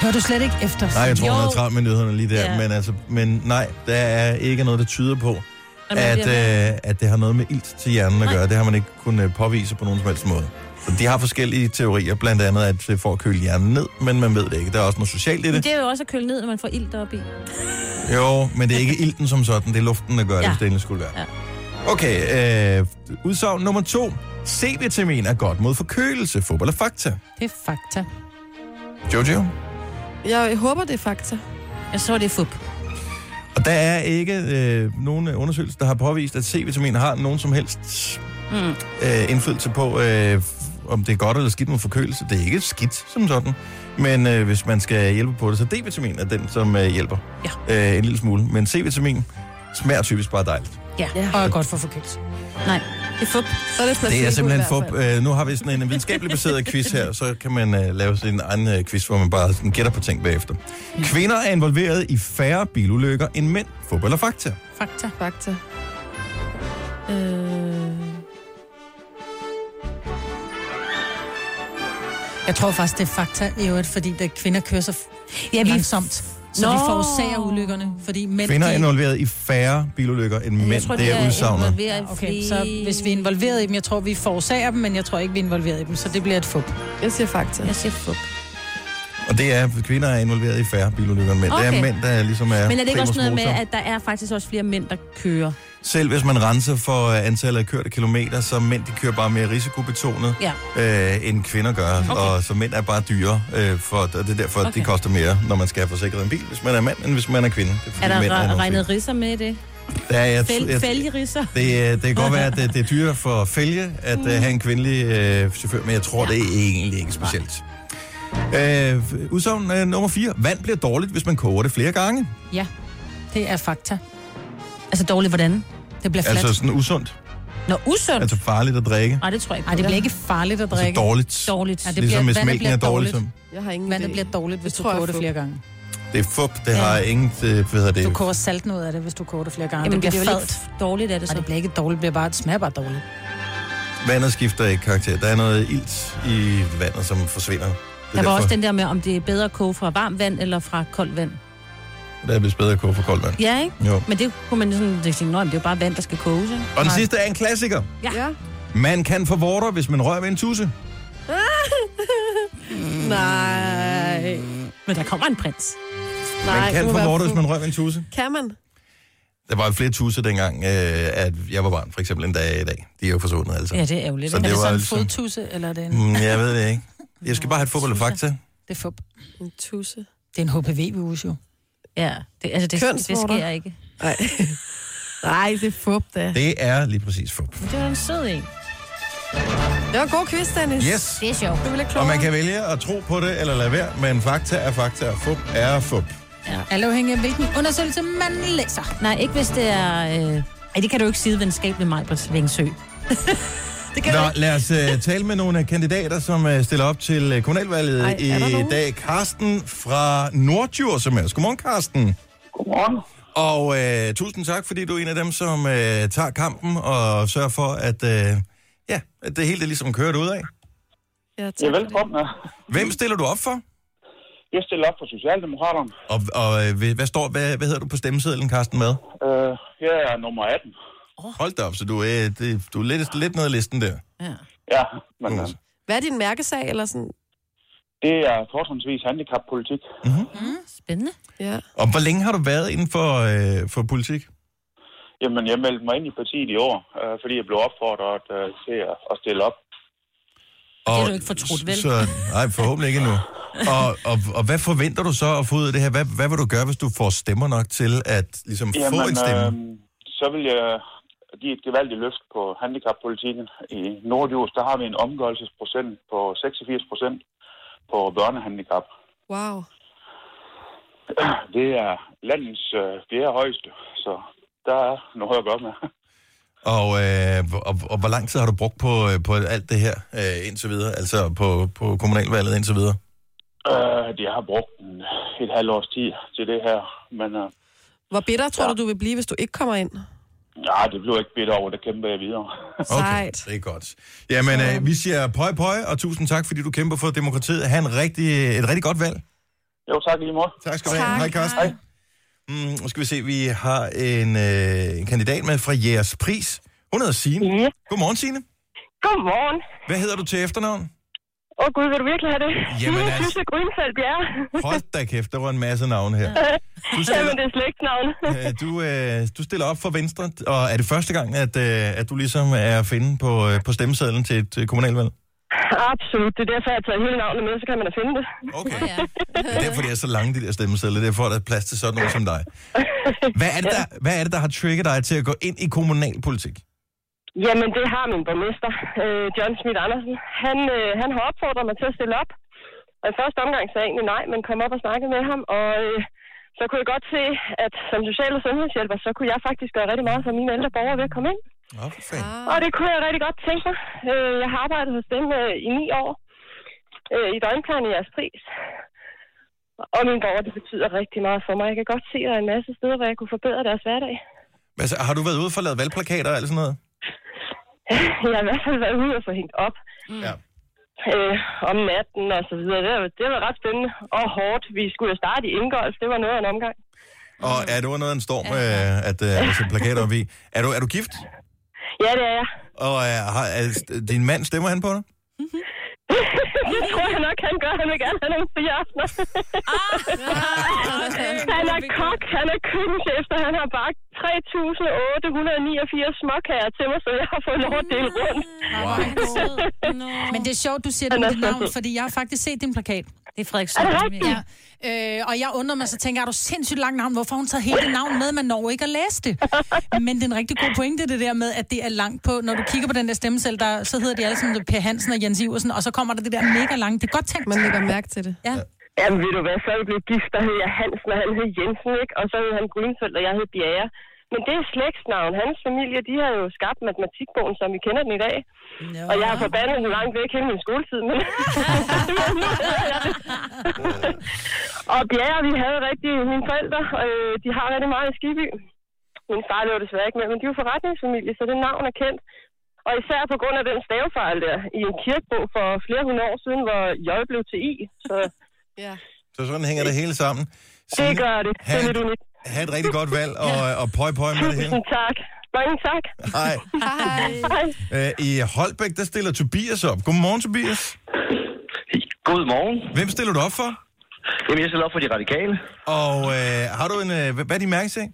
B: Hører du slet ikke efter?
A: Nej, jeg tror,
D: Jo.
A: hun havde travlt med nyhederne lige der. Ja.
D: Ja.
A: Men, altså, men nej, der er ikke noget, der tyder på,
D: At man
A: at,
D: bliver-
A: øh, at det har noget med ilt til hjernen at
D: Nej.
A: gøre. Det har man ikke kunnet øh, påvise på nogen som helst måde. Så de har forskellige teorier, blandt andet at det får køle hjernen ned, men man ved det ikke. Der er også noget socialt i det.
D: Men det er jo også at køle ned, når man får ild deroppe i.
A: Jo, men det er ikke ilten som sådan, det er luften, der gør det,
D: Ja.
A: hvis det endelig skulle være. Okay, øh, udsagn nummer to. C-vitamin er godt mod forkølelse, fodbold og fakta.
B: Det er fakta.
A: Jojo?
C: Jeg håber, det er fakta.
D: Jeg så, det er fup.
A: Og der er ikke øh, nogen øh, undersøgelser, der har påvist, at C-vitamin har nogen som helst
D: Mm.
A: øh, indflydelse på, øh, f- om det er godt eller skidt med forkølelse. Det er ikke skidt som sådan, men øh, hvis man skal hjælpe på det, så D-vitamin er den, som øh, hjælper ja. øh, en lille smule. Men C-vitamin smager typisk bare dejligt.
D: Ja.
B: Og er godt for forkølelse.
D: Nej, det er fup.
C: Så er det, placebo
A: Det er
C: i
A: simpelthen
C: hvert
A: for...
C: fald.
A: Øh, nu har vi sådan en videnskabelig baseret quiz her, så kan man øh, lave sin egen øh, quiz, hvor man bare sådan gætter på ting bagefter. Kvinder er involveret i færre bilulykker end mænd. Fodbold og fakta.
B: Fakta.
C: Fakta.
D: Øh...
B: Jeg tror faktisk, det er fakta i øvrigt, fordi da kvinder kører så ja, vi... langsomt, så Nå.
D: Nå.
B: de forårsager ulykkerne, fordi mænd...
A: Kvinder er
B: de...
A: involveret i færre bilulykker end mænd. Tror, det er udsagnet.
D: involveret i
B: Okay, så hvis vi er involveret i dem, jeg tror, vi forårsager dem, men jeg tror ikke, vi er involveret i dem, så det bliver et fup.
C: Jeg siger fakta.
D: Jeg siger fup.
A: Og det er, at kvinder er involveret i færre bilulykker end mænd. Okay. Det er
D: Okay.
A: mænd, der ligesom er
D: Men er det ikke
A: primus
D: også noget med,
A: motor.
D: at der er faktisk også flere mænd, der kører?
A: Selv hvis man renser for øh, antallet af kørte kilometer, så mænd de kører bare mere risikobetonet,
D: Ja.
A: øh, end kvinder gør. Okay. Og så mænd er bare dyre, øh, for, og det er derfor, okay.
D: Okay.
A: det koster mere, når man skal have forsikret en bil, hvis man er mand, end hvis man er kvinde. Det fordi
D: Er der
A: mænd
D: re-
A: nogle
D: regnet risser med i det?
A: flere- Der er, jeg,
D: Fæl-
A: jeg,
D: Fælgerisser?
A: det, øh, det kan godt være, at det, det er dyrere for fælge at mm. have en kvindelig øh, chauffør, men jeg tror, det er egentlig ikke specielt. Øh, udsagn øh, nummer 4. Vand bliver dårligt, hvis man koger det flere gange.
B: Ja, det er fakta.
D: Altså dårligt hvordan?
B: Det bliver fladt.
A: Altså
B: Altså...
A: sådan usundt.
D: Nå, usundt?
A: Altså farligt at drikke.
D: Nej, det tror jeg ikke.
B: Ej, det bliver ikke farligt at
A: Altså
B: drikke.
A: dårligt.
D: dårligt. Ja,
B: Ja, det
D: det...
A: Det ligesom
B: bliver-
A: hvis
B: vandet
A: mælken
B: bliver
A: er dårlig.
B: dårligt.
A: Som,
C: Jeg har ingen
B: Vandet
C: idé.
B: bliver dårligt, hvis
C: Det
B: du
C: tror jeg
B: koger det
C: er fup.
B: flere gange.
A: det er fup, det har ingen... Det, hvad hedder det?
B: Du koger salten ud af det, hvis du koger det flere gange.
D: Jamen, det
B: det
D: bliver
B: bliver
D: vel
B: fadt.
D: ikke dårligt, er det så?
B: Nej, det bliver ikke dårligt, det bliver bare, det smager bare dårligt.
A: Vandet skifter ikke karakter. Der er noget ilt i vandet, som forsvinder. Det er
D: Der var
A: derfor,
D: også den der med, om det er bedre at koge fra varmt vand eller fra koldt vand.
A: Der er vist bedre at koge for koldt vand.
D: Ja, ikke?
A: Jo.
D: Men det kunne man sådan det tænke, "Nå, men det er jo bare vand, der skal koges, ikke?
A: Og den sidste er en klassiker.
C: Ja.
A: Man kan forvorter, hvis man rører ved en tusse.
C: Nej.
D: Men der kommer en prins.
C: Nej,
A: Man kan
C: det må være
A: forvorter, hvis
C: fup.
A: man rører ved en tusse.
C: Kan man?
A: Der var jo flere tusse dengang, øh, at jeg var barn, for eksempel, en dag i dag. De er jo forsvundet, altså.
D: Ja, det er ærgerligt.
A: Så
D: ikke?
B: Er
A: Det
B: det
A: var
B: sådan en
A: ligesom-
B: fodtusse, eller er det en...
A: Mm, jeg ved det ikke. Jeg skal bare have et fodbold og fakta.
B: Det er fup.
C: En tusse.
B: Det er en HPV-virus jo.
D: Ja, det, altså det, det
C: Kønsvorter.
D: sker ikke.
C: Nej. Nej, det er fup, da.
A: Det er lige præcis fup.
D: Men det var en sød en.
C: Det var en god quiz, Dennis.
A: Yes.
D: Det er sjovt.
C: Du ville
A: Og man kan vælge at tro på det eller lade være, men fakta er fakta, og fup er fup.
B: Alt afhængig af, hvilken undersøgelse man læser.
D: Nej, ikke hvis det er... Øh... Ej, det kan du ikke sige venskab med mig på Svingsø. det kan du
A: Nå,
D: ikke.
A: lad os uh, tale med nogle af kandidater, som uh, stiller op til uh, kommunalvalget
C: Ej,
A: Ej,
C: er der
A: i
C: nogen?
A: dag. Karsten fra Nordjur, som er. Godmorgen, Karsten.
H: Godmorgen.
A: Og øh, tusind tak, fordi du er en af dem, som øh, tager kampen og sørger for, at, øh, ja, at det hele er ligesom kørt ud af.
C: Ja,
H: Ja,
C: tak.
H: velkommen.
C: Mm.
A: Hvem stiller du op for?
H: Jeg stiller op for Socialdemokraterne.
A: Og, og øh, hvad- hvad, står, hvad, hvad hedder du på stemmesedlen, Carsten, med?
H: Øh, jeg er nummer 18.
A: Hold da op, så du, øh, det, du er lidt, lidt nede af listen der.
B: Ja.
H: Ja, men
A: Mm.
H: øh,
C: Hvad er din mærkesag, eller sådan?
H: det er fortrinsvis handicappolitik.
D: Spændende.
C: Ja.
A: Og hvor længe har du været inden for, øh, for politik?
H: Jamen, jeg meldte mig ind i partiet i år, øh, fordi jeg blev opfordret øh, til at, at stille op.
A: Og,
D: har du ikke fortrudt, vel?
A: Så, nej, forhåbentlig ikke endnu. Og, og, og hvad forventer du så at få ud af det her? Hvad, hvad vil du gøre, hvis du får stemmer nok til at ligesom, få en stemme?
I: øhm,
H: øh, så vil jeg give et gevaldigt løft på handicappolitikken. I Nordjurs, der har vi en omgørelsesprocent på 86 procent på børnehandicap.
C: Wow.
H: Det er landets øh, fjerde højeste, så der er noget at gøre med.
A: Og, øh, og, og hvor lang tid har du brugt på, øh, på alt det her øh, indtil videre? Altså på, på kommunalvalget indtil videre?
H: Øh, det har brugt en, et halvt års tid til det her, men øh,
C: Hvor bitter tror du, du vil blive, hvis du ikke kommer ind?
H: nej, det blev jeg ikke bedt over, det kæmper jeg videre.
A: Okay,
C: Sejt.
A: det er godt. Jamen, øh, vi siger pøj pøj, og tusind tak, fordi du kæmper for demokratiet. Ha' en rigtig, et rigtig godt valg.
H: Jo, tak i lige måde.
A: Tak skal du have. Hej, Carsten.
H: Hej.
A: Mm, nu skal vi se, vi har en, øh, en kandidat med fra Jægers Pris. Hun hedder Signe.
G: Ja.
A: Godmorgen, Signe.
G: Godmorgen.
A: Hvad hedder du til efternavn?
G: Åh oh, gud, vil du virkelig have det?
A: Jamen
G: jeg
A: altså.
G: synes, det er Grønfeldt, ja.
A: Hold da kæft, der var en masse navne her. Du
G: Jamen,
A: stiller,
G: det er slægtsnavn.
A: øh, du, øh, du stiller op for Venstre, og er det første gang, at, øh, at du ligesom er at finde på, øh, på stemmesedlen til et øh, kommunalvalg?
G: Absolut. Det er derfor, jeg har taget hele navnet med, så kan man da finde det.
A: Okay. Ja, Det er derfor, det er så lange, de der stemmesedler. Det er for, at der er plads til sådan nogen som dig. Hvad er, det, der, hvad er det, der har trigget dig til at gå ind i kommunalpolitik?
G: Jamen, det har min borgmester, øh, John Schmidt Andersen. Han, øh, han har opfordret mig til at stille op. Og i første omgang sagde jeg egentlig nej, men kom op og snakkede med ham. Og øh, så kunne jeg godt se, at som social- og sundhedshjælper, så kunne jeg faktisk gøre rigtig meget for mine ældre borgere ved at komme ind.
A: Nå, for fanden.
G: Og det kunne jeg rigtig godt tænke mig. Øh, jeg har arbejdet hos dem øh, i ni år øh, i døgnplejen i jeres pris. Og min borger, det betyder rigtig meget for mig. Jeg kan godt se, at der er en masse steder, hvor jeg kunne forbedre deres hverdag.
A: Altså, har du været ude for at lave valgplakater eller sådan noget?
G: Jeg har i hvert fald været ude og få hængt op
A: Mm. Ja.
G: øh, om natten og så videre. Det var, det var ret spændende og hårdt. Vi skulle jo starte i indgolf. Det var noget af en omgang.
A: Og er det var noget af en storm, ja, ja. at øh, at sætte plakater op i? Er du, er du gift?
G: Ja, det er jeg.
A: Og øh, har, er, din mand, stemmer han på dig?
G: det tror jeg nok, han gør. Han vil gerne have nogle frie aftener. han er kok, han er køkkenchef, og han har bagt 3.889 småkager til mig, så jeg har fået lov at dele rundt.
D: Ah.
A: Wow.
B: Men det er sjovt, du siger det med
G: Han er
B: dit
G: så
B: navn,
G: sød.
B: fordi jeg har faktisk set din plakat.
D: Det er Frederik
G: Er det
D: Sohn.
G: rigtigt?
D: Ja.
B: Øh, og jeg undrer mig, så tænker jeg, er du sindssygt langt navn? Hvorfor har hun taget hele det navn med? Man når ikke at læse det. Men det er en rigtig god pointe, det der med, at det er langt på. Når du kigger på den der stemmesel, der, så hedder de alle sammen Per Hansen og Jens Iversen, og så kommer der det der mega langt. Det er godt tænkt.
C: Man lægger mærke til det.
B: Ja.
G: Jamen ved du hvad, så er vi blevet gift, der hed jeg Hansen, og han hed Jensen, ikke? Og så hed han Grønfeldt, og jeg hed Bjerre. Men det er slægtsnavn. Hans familie, de har jo skabt matematikbogen, som vi kender den i dag.
B: Nå.
G: Og jeg har forbandet den langt væk hele min skoletid, men... men nu hedder jeg det. og Bjerre, vi havde rigtig... Mine forældre, øh, de har rigtig meget i Skiby. Min far lever desværre ikke med, men de er jo forretningsfamilie, så det navn er kendt. Og især på grund af den stavefejl der i en kirkebog for flere hundrede år siden, hvor J blev til I. Så
C: Ja.
A: Så sådan hænger det hele sammen.
G: det gør det. Det er
A: Ha'
G: lidt
A: et,
G: unikt.
A: ha' et rigtig godt valg, og, øh, og pøj pøj med det hele.
G: Tusind tak. Mange tak.
A: Hej.
C: Hej.
G: Hej.
A: Øh, I Holbæk, der stiller Tobias op. Godmorgen, Tobias.
I: Godmorgen.
A: Hvem stiller du op for?
I: Jamen, jeg stiller op for de radikale.
A: Og øh, har du en... Øh, hvad er din mærkesag?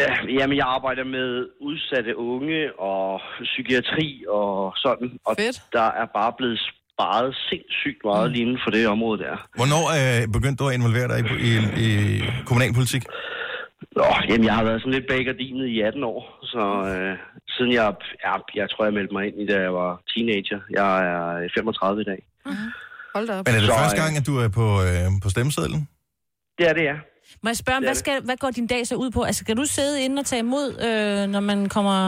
I: Øh, Jamen, jeg arbejder med udsatte unge og psykiatri og sådan. Og
C: Fedt.
I: der er bare blevet sparet sindssygt meget lige inden for det område der.
A: Hvornår øh, begyndte du at involvere dig i, i, i kommunalpolitik?
I: Nå, jamen, jeg har været sådan lidt bag gardinet i 18 år, så øh, siden jeg, ja, jeg tror, jeg meldte mig ind i, da jeg var teenager. Jeg er 35 i dag.
C: Hold da op.
A: Men er det
I: Så,
A: første
I: øh,
A: gang, at du er på, øh, på stemmesedlen?
I: Det er det, ja.
D: Må jeg spørge, om,
I: Det er
D: hvad, skal, hvad går din dag så ud på? Altså, skal du sidde inde og tage imod, øh, når man kommer...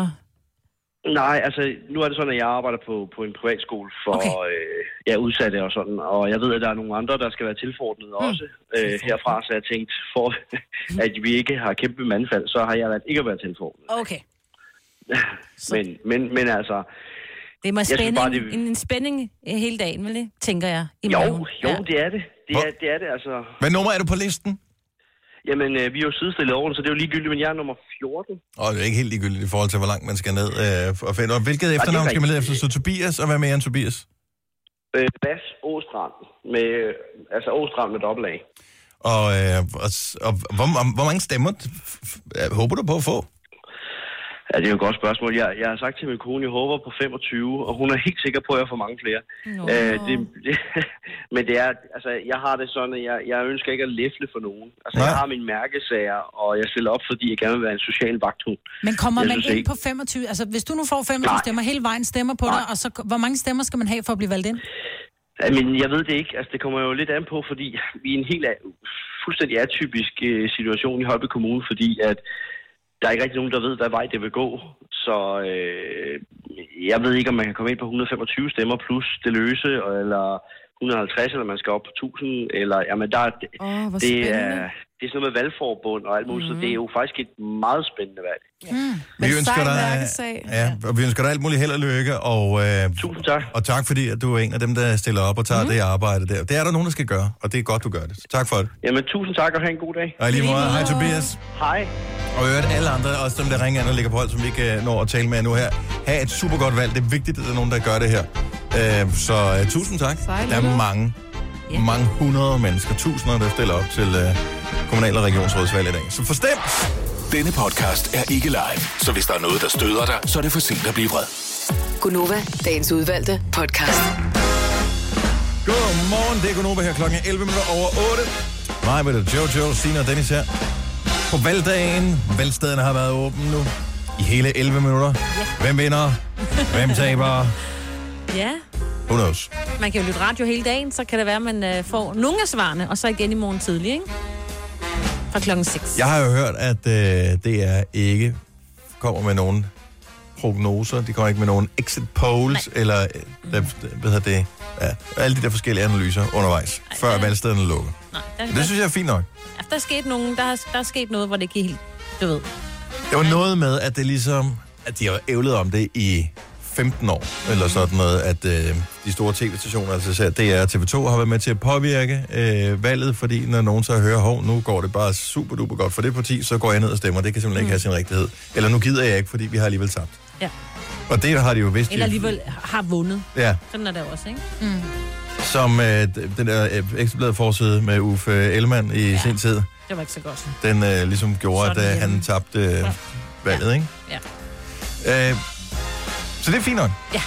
I: Nej, altså nu er det sådan, at jeg arbejder på, på en privatskole for okay. øh, ja, udsatte og sådan, og jeg ved, at der er nogle andre, der skal være tilforordnet mm. også øh, herfra, så jeg tænkte, for at vi ikke har kæmpe mandfald, så har jeg valgt ikke at være tilforordnet.
D: Okay.
I: men, men, men altså,
D: Det må
I: Jeg synes
D: spænding,
I: bare,
D: det... en, en spænding øh, hele dagen, vel det? Tænker jeg. I
I: jo,
D: maven.
I: jo, ja. det er det. Det er, det er det, altså.
A: Hvad nummer er du på listen?
I: Jamen, øh, vi er jo sidestillet over, så det er jo ligegyldigt, men jeg er nummer 14.
A: Og det er ikke helt ligegyldigt i forhold til, hvor langt man skal ned øh, og finde. Og hvilket efternavn skal man lede efter? Så Tobias, og hvad mere end Tobias?
I: Øh, Bas Åstrand, med, øh, altså Åstrand med dobbelt A.
A: Og, øh, og, s- og hvor, om, hvor mange stemmer f- f- øh, håber du på at få?
I: Ja, det er jo et godt spørgsmål. Jeg, jeg har sagt til min kone, jeg håber på 25, og hun er helt sikker på, at jeg får mange flere. Øh, det, det, men det er, altså, jeg har det sådan, at jeg, jeg ønsker ikke at læfle for nogen. Altså, jeg har mine mærkesager, og jeg stiller op, fordi jeg gerne vil være en social vagthund.
B: Men kommer
I: Jeg
B: man
I: synes
B: ind
I: ikke-
B: på 25? Altså, hvis du nu får 25 Nej. stemmer, hele vejen stemmer på dig, og så hvor mange stemmer skal man have for at blive valgt ind?
I: Jamen, jeg ved det ikke. Altså, det kommer jo lidt an på, fordi vi er i en helt a- fuldstændig atypisk øh, situation i Højby Kommune, fordi at der er ikke rigtig nogen, der ved, hvad vej det vil gå. Så øh, jeg ved ikke, om man kan komme ind på 125 stemmer plus det løse, og- eller 150, eller man skal op på 1000, eller... Jamen, der, er-
C: Åh, hvor
I: det, er,
C: spændende. Mhm.
I: det er sådan noget med valgforbund og alt muligt, mm. så det er jo faktisk et meget spændende valg.
A: Vi
C: Men
A: ønsker
C: sej
A: dig,
C: mærkesag.
A: ja, og vi ønsker dig alt muligt held og lykke, og, øh,
I: Tusind tak.
A: og tak fordi, at du er en af dem, der stiller op og tager mm. det arbejde der. Det er der nogen, der skal gøre, og det er godt, du gør det. Tak for det.
I: Jamen, tusind tak, og have en god dag.
A: Og i lige måde, hej Tobias.
I: Hej.
A: Og i øvrigt alle andre, også dem, der ringer ind og ligger på hold, som vi ikke øh, når at tale med nu her. Ha' et super godt valg. Det er vigtigt, at der er nogen, der gør det her. Øh, så uh, tusind tak.
C: Sejt,
A: der er
C: Lulu.
A: mange, yeah. mange hundrede mennesker, tusinder, der stiller op til uh, kommunal- og regionsrådsvalg i dag. Så forstemt!
F: Denne podcast er ikke live, så hvis der er noget, der støder dig, så er det for sent at blive vred.
E: Gunova, dagens udvalgte podcast.
A: Godmorgen, det er Gunova her klokken er 11 minutter over 8. Mig med det Jojo, Sina og Dennis her. På valgdagen, valgstederne har været åbne nu i hele 11 minutter. Hvem vinder? Hvem taber?
D: Ja,
A: Who knows?
D: man kan jo lytte radio hele dagen, så kan det være, at man øh, får nogle af svarene, og så igen i morgen tidlig, ikke? Fra klokken 6.
A: Jeg har jo hørt, at øh, DR ikke kommer med nogen prognoser. De kommer ikke med nogen exit polls, Nej. eller øh, der, hvad hedder det? Ja, alle de der forskellige analyser undervejs, Ej, før
D: ja.
A: valgstederne lukker.
D: Nej, der,
A: Det
D: der,
A: synes jeg er fint nok.
D: der, er sket nogen, der, er- der er sket noget, hvor det ikke helt, du ved.
A: Det var noget med, at det ligesom, at de har ævlet om det i 15 år, eller sådan noget, at øh, de store tv-stationer, altså især DR og TV2, har været med til at påvirke øh, valget, fordi når nogen så hører, hov, nu går det bare super duper godt for det parti, så går jeg ned og stemmer, det kan simpelthen ikke have sin rigtighed. Eller nu gider jeg ikke, fordi vi har alligevel tabt.
D: Mm. Ja.
A: Og det har de jo vidst.
D: Eller
A: i-
D: alligevel har vundet.
A: Ja,
D: Sådan er det jo også, ikke?
A: som øh, d- den der øh, ekstrabladet forside med Uffe Ellemann i ja. sin tid,
D: Det var ikke så godt.
A: den øh, ligesom gjorde,
D: Sådan
A: at øh,
D: hjemme.
A: han tabte øh, valget, ikke?
D: Ja.
A: Øh, så det er fint nok.
D: Ja.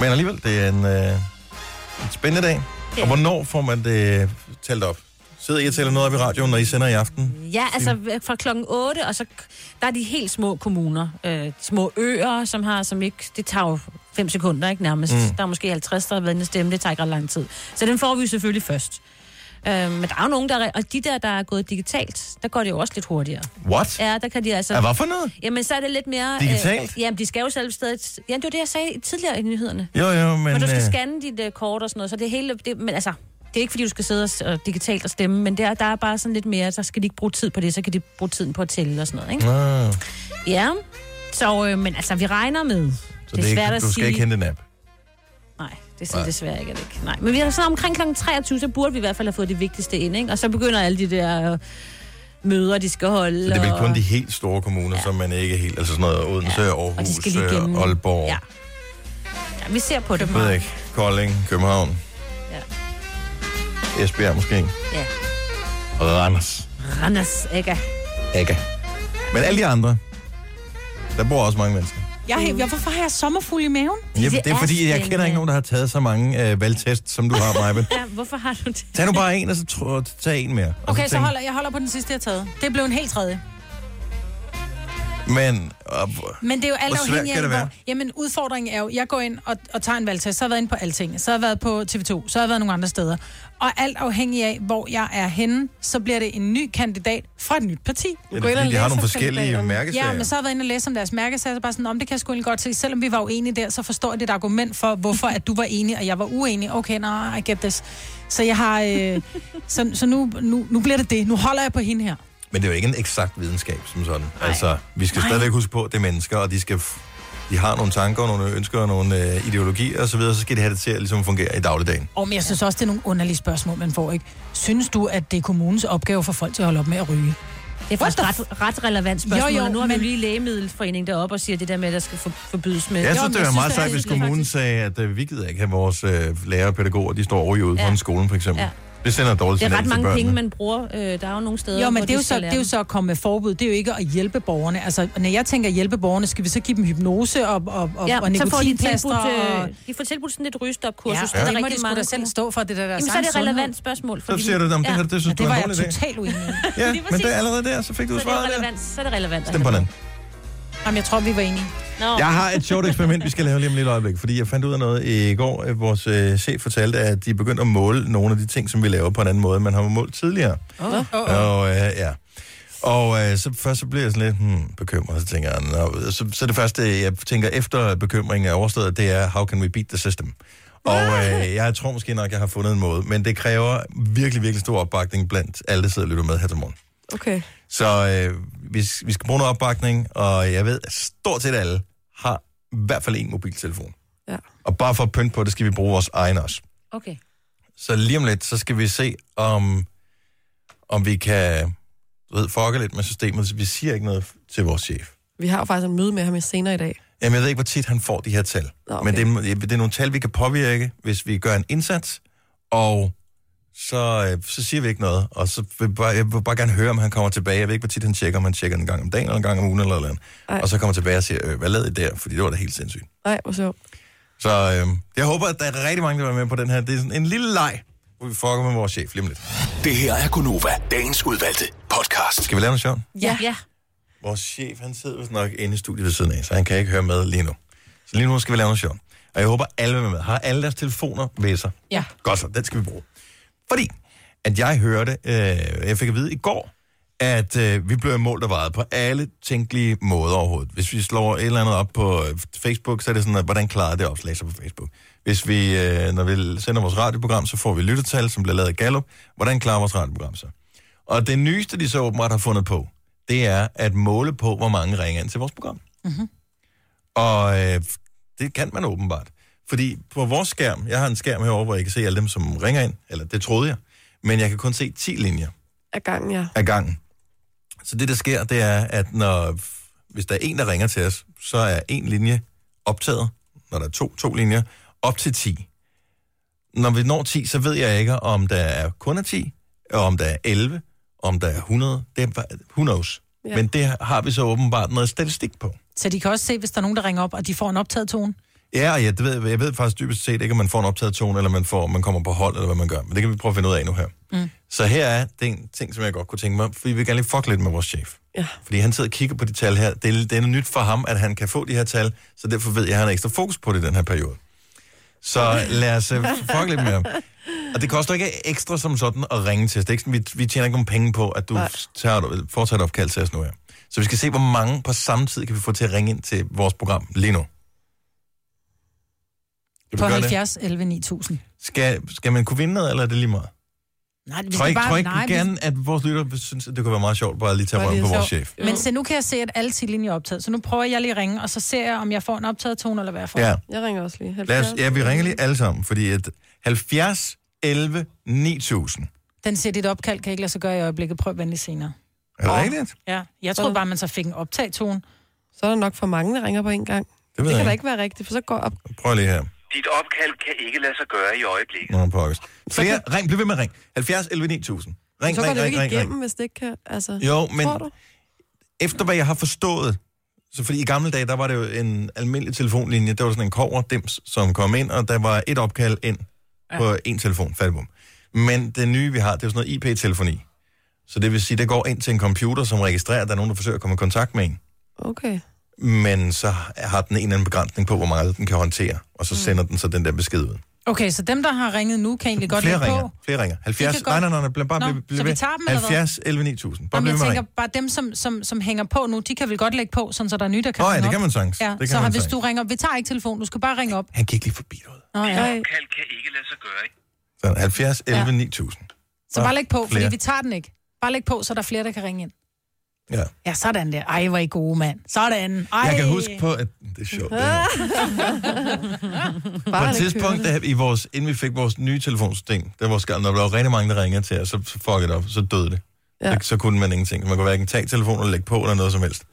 A: Men alligevel, det er en, øh, en spændende dag.
D: Det
A: Og
D: er
A: hvornår får man det øh, talt op? Sidder I og tæller noget op i radioen, når I sender i aften?
D: Ja, altså fra klokken 8, og så der er de helt små kommuner, øh, de små øer, som har, som ikke, det tager jo fem sekunder, ikke nærmest. Mm. Der er måske 50, der har været inde at stemme, det tager ikke ret lang tid. Så den får vi jo selvfølgelig først. Øh, men der er jo nogen, der, re- og de der, der er gået digitalt, der går det jo også lidt hurtigere.
A: What?
D: Ja, der kan de altså...
A: Ja, hvad for noget?
D: Jamen, så er det lidt mere...
A: Digitalt?
D: Øh, jamen, de skal jo selv stedet... Ja, det var det, jeg sagde tidligere i nyhederne.
A: Jo, jo, men...
D: Men, du skal
A: øh,
D: scanne dit øh, kort og sådan noget, så det hele... Det, men altså, det er ikke, fordi du skal sidde og, s- og digitalt og stemme, men der, der er bare sådan lidt mere, så skal de ikke bruge tid på det, så kan de bruge tiden på at tælle og sådan noget, ikke?
A: ah,
D: Ja, så, øh, men altså, vi regner med.
A: så det er ikke,
D: svært at
A: du skal
D: sige.
A: ikke hente en app.
D: Nej, det er desværre ikke, er det ikke. Nej, men vi er så omkring kl. 23, så burde vi i hvert fald have fået det vigtigste ind, ikke? Og så begynder alle de der øh, møder, de skal holde.
A: Så det er vel kun
D: og-
A: de helt store kommuner, ja. som man ikke helt... Altså sådan noget Odense, ja. Aarhus,
D: og de skal lige gennem.
A: øh, Aalborg,
D: Ja. ja. vi ser på det.
A: ved jeg ikke, Kolding, København,
D: Ja.
A: Esbjerg måske,
D: Ja.
A: og Randers.
D: Randers, ikke?
A: Ikke. Men alle de andre, der bor også mange mennesker.
B: Jeg, er helt- jeg, hvorfor har jeg sommerfugl i maven?
A: Jamen, det,
D: Det
A: det er,
D: er
A: fordi, jeg kender
D: spændende.
A: ikke nogen, der har taget så mange øh, valgtests, som du har, Maja.
D: Ja, hvorfor har du det?
A: Tag nu bare en, og så tro, tag en mere. Og
B: Okay, så
A: Altså, tænk-
B: holder jeg holder på den sidste, jeg har taget. Det blev en helt tredje.
A: Men, og,
B: Men det er jo alt
A: Hvor svært
B: afhængigt
A: kan
B: af,
A: det
B: hvor...
A: være?
B: Jamen, udfordringen er jo, jeg går ind og, og tager en valgtest, så har jeg været inde på alting, så har jeg været på TV2, så har jeg været nogle andre steder. Og alt afhængig af, hvor jeg er henne, så bliver det en ny kandidat fra et nyt parti.
A: Ja, det er fordi, de har nogle forskellige mærkesager.
B: Ja, men så har jeg været inde og læse om deres mærkesager, så bare sådan, om det kan jeg sgu egentlig godt se. Selvom vi var uenige der, så forstår jeg dit argument for, hvorfor at du var enig, og jeg var uenig. Okay, nej, I get this. Så jeg har... Øh, så, så nu, nu, nu bliver det det. Nu holder jeg på hende her.
A: Men det er jo ikke en eksakt videnskab som sådan. Nej. Altså, vi skal Nej. stadigvæk huske på, at det er mennesker, og de skal... f- De har nogle tanker, og nogle ønsker, og nogle øh, ideologier osv., så, videre, så skal de have det til at ligesom, fungere i dagligdagen.
B: Og men jeg synes også, det er nogle underlige spørgsmål, man får, ikke? Synes du, at det er kommunens opgave for folk til at holde op med at ryge?
D: Det er faktisk ret, ret relevant spørgsmål,
B: Jo, jo,
D: jo, jo, nu har
B: men-
D: vi jo lige lægemiddelforeningen deroppe og siger det der med, at der skal for, forbydes med...
A: Jeg synes, det var meget sejt,
D: sejt,
A: hvis kommunen sagde, at øh, vi gider ikke have vores øh, lærere og pædagoger, de står over i ude
D: Ja.
A: foran skolen for eksempel.
D: Ja.
A: Det sender et dårligt
D: Det er
A: signal
D: ret
A: til børnene.
D: mange penge, man bruger. Øh, der er jo nogle steder,
B: Jo, men
D: hvor
B: det er jo,
D: de
B: så,
D: skal
B: det
D: lære
B: er jo
D: dem.
B: så at komme med forbud. Det er jo ikke at hjælpe borgerne. Altså, når jeg tænker hjælpe borgerne, skal vi så give dem hypnose og, og, og,
D: Ja,
B: og
D: så får de
B: nikotinplaster?
D: tilbudt,
B: og...
D: øh, de får tilbudt sådan et rygestopkursus.
B: Ja,
D: der er
B: det må
D: rigtig
B: de sgu
D: mange
B: da selv
D: kroner.
B: stå for, det der deres
D: Jamen, så er
B: egen
D: det et
B: sundhed.
D: relevant spørgsmål.
A: Så siger du, "Nå, men det her, det synes
B: Ja,
A: du
B: det
A: er
B: var
A: en
B: jeg
A: dårlig idé."
B: totalt uenig i.
A: Ja,
D: Lige
A: men
D: præcis.
A: det er allerede der, så fik du
D: Så er det
A: svaret der.
D: relevant. Så er det relevant.
A: Stem på den.
B: Jamen, jeg tror, vi var enige.
D: Nå,
A: Jeg har et sjovt eksperiment, vi skal lave lige om lidt øjeblik, fordi jeg fandt ud af noget i går. at Vores øh, chef fortalte, at de er begyndt at måle nogle af de ting, som vi laver på en anden måde, end man har målt tidligere.
B: Oh, oh.
A: Og, øh, ja. og øh, så først så bliver jeg sådan lidt hmm, bekymret, og så tænker jeg, Nå. Så, så det første, jeg tænker efter bekymringen er overstået, det er, how can we beat the system? Og øh, jeg tror måske nok, jeg har fundet en måde, men det kræver virkelig, virkelig stor opbakning blandt alle, der sidder og lytter med her til morgen.
C: Okay.
A: Så øh, vi, vi skal bruge noget opbakning, og jeg ved, at stort set alle har i hvert fald en mobiltelefon.
C: Ja.
A: Og bare for at pynte på det, skal vi bruge vores egen også.
D: okay.
A: Så lige om lidt, så skal vi se, om, om vi kan du ved, fucke lidt med systemet. Så Vi siger ikke noget til vores chef.
C: Vi har jo faktisk en møde med ham senere i dag.
A: Jamen, jeg ved ikke, hvor tit han får de her tal.
C: Nå, okay.
A: Men det, er- det er nogle tal, vi kan påvirke, hvis vi gør en indsats, og så, øh, så siger vi ikke noget. Og så vil jeg bare, jeg vil bare gerne høre, om han kommer tilbage. Jeg ved ikke, hvor tit han tjekker, om han tjekker en gang om dagen, eller en gang om ugen, eller noget andet.
C: Ej.
A: Og så kommer tilbage og siger, øh, hvad lavede I der? Fordi det var da helt sindssygt.
C: Nej, hvor sjovt.
A: Så øh, jeg håber, at der er rigtig mange, der er med på den her. Det er sådan en lille leg, hvor vi fucker med vores chef lige om lidt.
F: Det her er Gonova, dagens udvalgte podcast.
A: Skal vi lave noget sjovt?
D: Ja. ja.
A: Vores chef, han sidder vist nok inde i studiet ved siden af, så han kan ikke høre med lige nu. Så lige nu skal vi lave noget sjovt. Og jeg håber, alle vil være med. Har alle deres telefoner ved sig?
B: Ja.
A: Godt så, den skal vi bruge. Fordi, at jeg hørte, øh, jeg fik at vide i går, at øh, vi bliver målt og vejet på alle tænkelige måder overhovedet. Hvis vi slår et eller andet op på øh, Facebook, så er det sådan, at, hvordan klarede det opslag sig på Facebook? Hvis vi, øh, når vi sender vores radioprogram, så får vi lyttetal, som bliver lavet af Gallup. Hvordan klarer vores radioprogram sig? Og det nyeste, de så åbenbart har fundet på, det er at måle på, hvor mange ringer ind til vores program. Mm-hmm. Og øh, det kan man åbenbart. Fordi på vores skærm, jeg har en skærm herovre, hvor jeg kan se alle dem, som ringer ind, eller det troede jeg, men jeg kan kun se 10 linjer
C: Af gangen, ja.
A: af gangen. Så det, der sker, det er, at når, hvis der er en, der ringer til os, så er en linje optaget, når der er to, to linjer, op til 10. Når vi når 10, så ved jeg ikke, om der er kun er 10, og om der er 11, om der er 100. Det er, bare- who knows? Ja.
C: Ja.
A: Men det har vi så åbenbart noget statistik på.
B: Så de kan også se, hvis der er nogen, der ringer op, og de får en optaget tone.
A: Ja, og ja, det ved, jeg- jeg ved faktisk dybest set ikke, om man får en optaget tone, eller man, får, man kommer på hold, eller hvad man gør. Men det kan vi prøve at finde ud af nu her. Mm. Så her er den ting, som jeg godt kunne tænke mig, fordi vi vil gerne lige fuck lidt med vores chef.
C: Ja.
A: Fordi han sidder og kigger på de tal her. Det er, det er nyt for ham, at han kan få de her tal, så derfor ved jeg, at han har ekstra fokus på det i den her periode. Så lad os øh, fuck lidt med ham. Og det koster ikke ekstra som sådan at ringe til os. Det er ikke sådan, vi, vi tjener ikke nogen penge på, at du tager, foretager et opkald til os nu her. Så vi skal se, hvor mange på samme tid kan vi få til at ringe ind til vores program lige nu. Kan
B: På
A: vi gøre
B: 70 11 9000.
A: det? Skal, skal man kunne vinde noget, eller er det lige meget?
B: Nej, vi
A: Tror
B: skal
A: ikke, tror
B: bare...
A: ikke
B: Nej, vi-
A: gerne, at vores lytter synes, at det kunne være meget sjovt bare at lige tage
C: Bare lige
A: røven på
C: at
A: vores
C: tage-
A: chef.
B: Men se, nu kan jeg se, at alle titlinjer er optaget. Så nu prøver jeg lige at ringe, og så ser jeg, om jeg får en optaget tone, eller hvad jeg får.
A: Ja.
C: Jeg ringer også lige.
A: Lad os, ja, vi ringer lige alle sammen, fordi at 70 11 9000.
B: Den siger, dit opkald kan ikke lade sig gøre i øjeblikket. Prøv venlig senere.
A: Er det
C: Åh.
A: rigtigt?
B: Ja, jeg troede bare, man så fik en optagetone.
C: Så er der nok for mange, der ringer på en gang.
A: Det ved
C: Det kan
A: jeg
C: da
A: ikke.
C: ikke være rigtigt, for så går op.
A: Prøv lige her.
I: Dit opkald kan ikke lade sig gøre i øjeblikket.
A: Nå, pokkes. Flere, ring, bliv ved med at ring. 70 11 9000. Ring,
C: Så går
A: ring,
C: det jo
A: ring,
C: ikke
A: ring, ring.
C: igennem, hvis det ikke kan. Altså,
A: Jo, men
C: tror du?
A: efter hvad jeg har forstået, så fordi i gamle dage, der var det jo en almindelig telefonlinje, der var sådan en koverdims, som kom ind, og der var et opkald ind på en telefon, fattigbom. Men det nye, vi har, det er jo sådan noget IP-telefoni. Så det vil sige, det går ind til en computer, som registrerer, at der er nogen, der forsøger at komme i kontakt med en.
C: Okay.
A: men så har den en eller anden begrænsning på, hvor meget den kan håndtere, og
B: Mm.
A: så sender den så den der besked ud.
B: Okay, så dem, der har ringet nu, kan egentlig godt
A: flere
B: lægge
A: ringer,
B: på.
A: flere ringer. 70,
B: kan
A: nej,
B: godt-
A: nej, nej, nej, bare
B: Nå,
A: bliv, bliv
B: så vi
A: ved.
B: tager dem, eller hvad?
A: 70, 11, 9000. Bare
B: Jamen,
A: bliv
B: jeg
A: ved med at
B: tænker
A: ringe.
B: bare dem, som, som, som hænger på nu, de kan vel godt lægge på, sådan, så der er nye, der kan
A: Nå, ja,
B: ringe
A: det
B: op.
A: kan man sagtens.
B: Ja,
A: Det kan
B: så
A: man
B: hvis
A: sagtens.
B: du ringer, vi tager ikke telefonen, du skal bare ringe op.
A: Han gik lige forbi noget.
B: Nå, ja.
I: Kald kan ikke lade sig gøre, ikke?
A: Så 70, 11,
B: Ja.
A: 9000.
B: Så bare læg på,
A: Flere.
B: fordi vi tager den ikke. Bare læg på, så der er flere, der kan ringe ind.
A: Ja.
B: Ja, sådan der. Ej, hvor I gode, mand. Sådan. Ej. Ah,
A: Jeg kan huske på, at det er sjovt. Det her.
C: Bare
A: på et
C: lidt
A: tidspunkt, da i vores, inden vi fik vores nye telefonsystem, der var skald, når der var rigtig mange, der ringede til os, så så fuck it op, så døde det. Ja.
C: Ja.
A: Så, så, kunne man ingenting. Man kunne hverken tage telefonen eller lægge på eller noget som helst.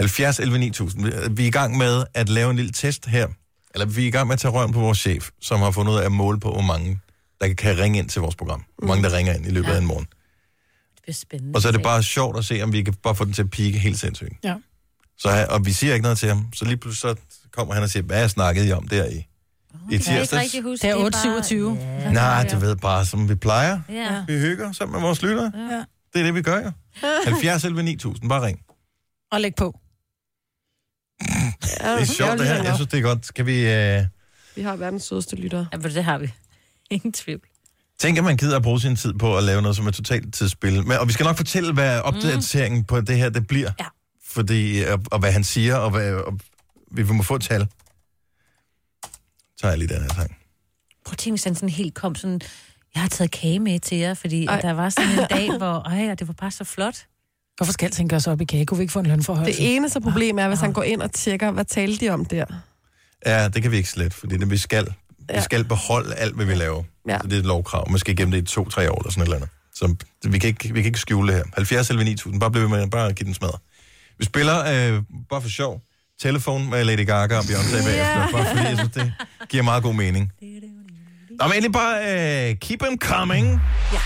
A: 70 11 9000. Vi- Vi er i gang med at lave en lille test her. Eller vi er i gang med at tage røven på vores chef, som har fundet ud af at måle på, hvor mange der kan ringe ind til vores program. Hvor mange der ringer ind i løbet af en morgen.
D: Det er spændende.
A: Og så er det bare sjovt at se, om vi kan bare få den til at pike helt sindssygt.
B: Ja.
A: Så, han- og vi siger ikke noget til ham. Så lige pludselig så kommer han og siger, hvad snakkede I om der i, i
D: Jeg kan ikke
A: tirsdags?
D: rigtig huske.
B: Det er
D: bare-
B: 827.
A: Nej, du ved bare, som vi plejer.
D: Ja.
A: Vi hygger sammen med vores lyttere.
B: Ja.
A: Det er det, vi gør jo. 70 11 9000, bare ring.
B: Og læg på.
C: Ja,
A: Det er sjovt det her. Jeg synes, det er godt. Kan vi øh,
C: Vi har verdens sødeste lyttere.
D: Ja, men det har vi. Ingen tvivl.
A: tænke, at man gider at bruge sin tid på at lave noget, som er totalt tidsspil? Men, og vi skal nok fortælle, hvad opdateringen mm. på det her det bliver.
D: Ja.
A: Fordi, øh, og, og hvad han siger, og, hvad, og vi må få et tal. Så tager jeg lige den her sang.
D: Prøv at tænke, hvis han sådan helt kom sådan... Jeg har taget kage med til jer, fordi ej. der var sådan en dag, hvor... Ej, og det var bare så flot.
B: Hvorfor skal alting gøres op i kage? Kunne vi ikke få en lønforhøjelse?
C: Det eneste problem er, hvis han går ind og tjekker, hvad talte de om der?
A: Ja, det kan vi ikke slet, fordi det, vi skal. Vi
C: Ja.
A: skal beholde alt, hvad vi laver.
C: Ja.
A: Så det er et lovkrav. Man skal igennem det i to-tre år eller sådan et eller andet. Så vi kan ikke, vi kan ikke skjule det her. 70 eller 9000, bare bliv ved med, bare give den smadre. Vi spiller, øh, bare for sjov, telefon med Lady Gaga og Beyoncé yeah. bagefter, bare fordi jeg synes, det giver meget god mening. Nå, men endelig bare øh, keep them coming. Ja.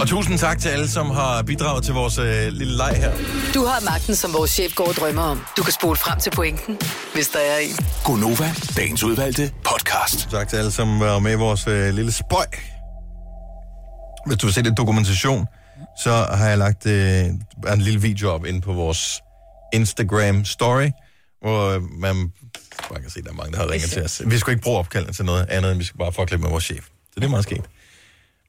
A: Og tusind tak til alle, som har bidraget til vores øh, lille leg her.
E: Du har magten, som vores chef går og drømmer om. Du kan spole frem til pointen, hvis der er en.
F: Gonova, dagens udvalgte podcast.
A: Tak til alle, som var med i vores øh, lille spøj. Hvis du vil se lidt dokumentation, så har jeg lagt øh, en lille video op inde på vores Instagram story, hvor øh, man bare kan se, at der er mange, der har ringet til os. Vi skal ikke bruge opkaldene til noget andet, end vi skal bare fuck lidt med vores chef. Så det er meget skægt.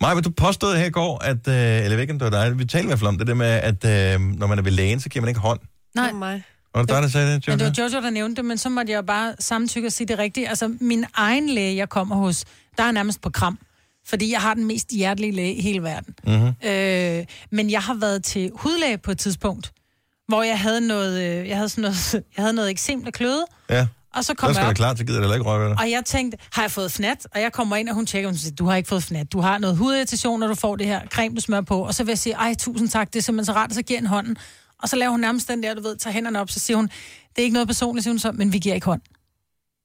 A: Maja, vil du påstod her i går, at, øh, eller jeg ved ikke, om det var dig, vi talte i hvert fald om det der med, at øh, når man er ved lægen, så giver man ikke hånd.
B: Nej.
C: Det var mig.
A: Var det dig, der sagde det,
B: Men
A: Jojo?
B: det var Jojo, der nævnte det, men så måtte jeg jo bare samtykke og sige det rigtigt. Altså, min egen læge, jeg kommer hos, der er nærmest på kram. Fordi jeg har den mest hjertelige læge i hele verden.
A: Mhm.
B: Mm-hmm. Øh, men jeg har været til hudlæge på et tidspunkt, hvor jeg havde noget, øh, jeg havde sådan noget, jeg havde noget eksem, der kløede,
A: Ja,
B: og så
A: så
B: kom
A: skal
B: jeg
A: du
B: op,
A: klar, så gider det heller ikke røre ved dig.
B: og jeg tænkte, har jeg fået fnat? Og jeg kommer ind, og hun tjekker, og hun siger, du har ikke fået fnat. Du har noget hudirritation, når du får det her creme, du smører på. Og så vil jeg sige, ej, tusind tak, det er simpelthen så rart, og så giver en hånden. Og så laver hun nærmest den der, du ved, tager hænderne op, så siger hun, det er ikke noget personligt, siger hun så, men vi giver ikke hånd.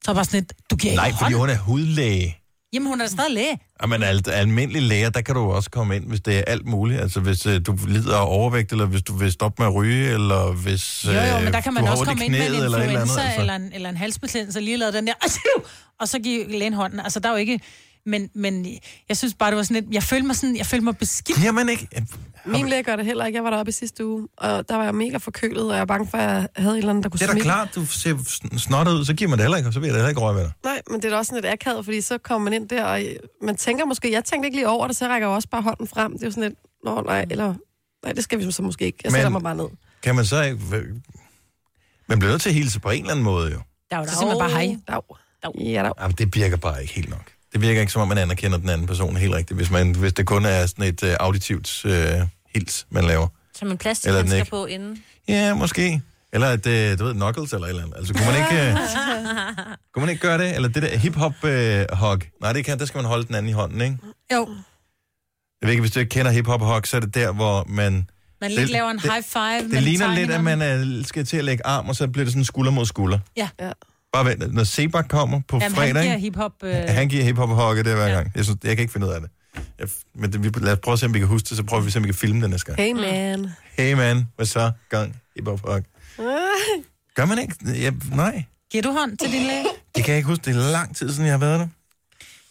B: Så er jeg bare sådan lidt, du giver
A: Nej,
B: ikke
A: fordi hun
B: hånd?
A: er hudlæge.
B: Jamen, hun er da stadig læge.
A: Jamen, al- almindelige læger, der kan du også komme ind, hvis det er alt muligt. Altså, hvis øh, du lider af overvægt, eller hvis du vil stoppe med at ryge, eller hvis
B: Jo, jo, men
A: øh,
B: der kan man
A: du har
B: også
A: ondt i
B: komme ind med en
A: knæet, eller et eller andet.
B: influenza
A: Altså.
B: eller, en, eller en halsbetændelse, lige lavet den der, "Asiu!" og så give lægen hånden. Altså, der er jo ikke... Men, men jeg synes bare, det var sådan lidt... Jeg følte mig sådan... Jeg følte mig beskidt.
A: Giver man ikke...
C: Min læge gør det heller ikke. Jeg var deroppe i sidste uge, og der var jeg mega forkølet, og jeg var bange for, at jeg havde en eller anden, der kunne
A: Det er da
C: smitte.
A: klart, du ser sn- snottet ud, så giver man det heller ikke, og så bliver det heller ikke røg ved dig.
C: Nej, men det er da også sådan lidt akavet, fordi så kommer man ind der, og man tænker måske, jeg tænkte ikke lige over det, så jeg rækker jo også bare hånden frem. Det er jo sådan lidt, nå nej, eller nej, det skal vi så måske ikke. Jeg sætter
A: Men-
C: mig bare ned.
A: Kan man så ikke... Man bliver nødt til at hilse på en eller anden måde, jo.
B: Der var så siger man bare hej.
C: Dag. Ja, dag.
A: Jamen, det virker bare ikke helt nok. Det virker ikke, som om man anerkender den anden person helt rigtigt, hvis, man, hvis det kun er sådan et øh, auditivt øh, hils, man laver.
D: Som en
A: Eller den
D: plastikhandsker
A: ikke.
D: på inden.
A: Ja, måske. Eller at, øh, du ved, knuckles eller et eller andet. Altså, kunne man ikke, øh, kunne man ikke gøre det? Eller det der hip-hop-hug. Øh, hug. Nej, det kan, der skal man holde den anden i hånden, ikke?
B: Jo,
A: Jeg ved ikke, hvis du ikke kender hip-hop-hug, så er det der, hvor man...
B: man lidt laver en
A: det-
B: high five.
A: Det ligner lidt, at man er, skal til at lægge arm, og så bliver det sådan skulder mod skulder.
B: Ja.
C: Ja.
A: Bare vent, når Sebak kommer på
B: Jamen,
A: fredag...
B: han giver
A: ikke?
B: hiphop... Øh,
A: Ja, han giver hiphop og hokke det hver gang. Jeg, synes, jeg kan ikke finde ud af det. Jeg, men det, vi, lad os prøve at se, om vi kan huske det, så prøver vi at se, om vi kan filme det næste gang.
C: Hey man.
A: Hey man, hvad så? Gang hiphop og hokke. Gør man ikke? Ja, nej.
B: Giver du hånd til din læge?
A: Det kan jeg ikke huske. Det er lang tid siden, jeg har været der.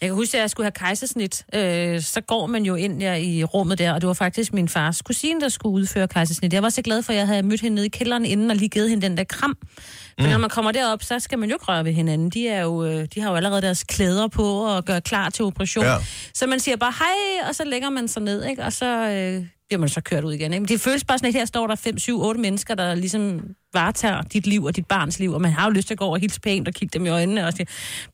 D: Jeg kan huske, at jeg skulle have kejsersnit. Øh, så går man jo ind ja, i rummet der, og det var faktisk min fars kusine, der skulle udføre kejsersnit. Jeg var så glad for, at jeg havde mødt hende nede i kælderen inden og lige givet hende den der kram. For
G: Mm.
D: mm. når man kommer derop, så skal man jo ikke røre ved hinanden. De, er jo, øh, de har jo allerede deres klæder på og gør klar til operation.
G: Ja.
D: Ja. Så man siger bare hej, og så lægger man sig ned, ikke? og så øh, bliver man så kørt ud igen. Ikke? Men det føles bare sådan, at her står der 5, 7, 8 mennesker, der ligesom varetager dit liv og dit barns liv, og man har jo lyst til at gå over og hilse pænt og kigge dem i øjnene og sige,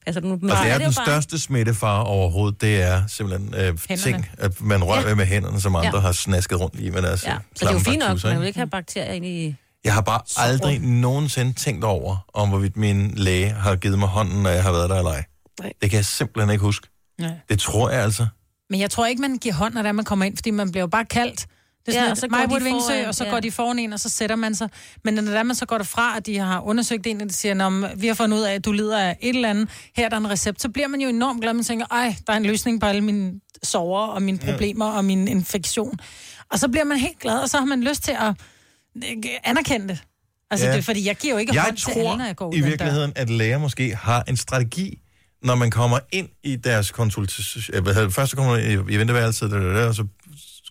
D: altså nu...
A: Og det
D: Ja,
A: er
D: jo
A: den
D: bare-
A: største smittefare overhovedet, det er simpelthen øh, ting, at man rører
D: Ja.
A: ved med hænderne, som andre
D: Ja.
A: har snasket rundt i altså, med deres
D: Ja,
A: ja.
D: så det er jo fint nok, man vil ikke have bakterier ind i...
A: Jeg har bare aldrig nogensinde tænkt over, om hvorvidt min læge har givet mig hånden, når jeg har været der eller ej.
C: Nej.
A: Det kan jeg simpelthen ikke huske.
B: Nej.
A: Det tror jeg altså.
B: Men jeg tror ikke, man giver hånd, når det er, man kommer ind, fordi man bliver jo bare kaldt. Det
D: Ja,
B: er sådan, ja,
D: og så
B: så
D: går
B: mig
D: de
B: burde
D: foran,
B: Vingsø, og så
D: ja.
B: går de foran en, og så sætter man sig. Men når det er, man så går derfra, og de har undersøgt en, og de siger, om vi har fundet ud af, at du lider af et eller andet, her er der en recept, så bliver man jo enormt glad. Man tænker, ej, der er en løsning på alle mine sover og mine
G: Ja.
B: problemer og min infektion. Og så bliver man helt glad, og så har man lyst til at øh, anerkende det. Altså,
A: Ja.
B: ja. det er, fordi jeg giver jo ikke
A: jeg
B: hånd
A: tror
B: til alle, når jeg går ud
A: i
B: den dør.
A: virkeligheden, at læger måske har en strategi, når man kommer ind i deres øh, konsultation. Først så kommer man i, i venteværelset, da, da, da, og så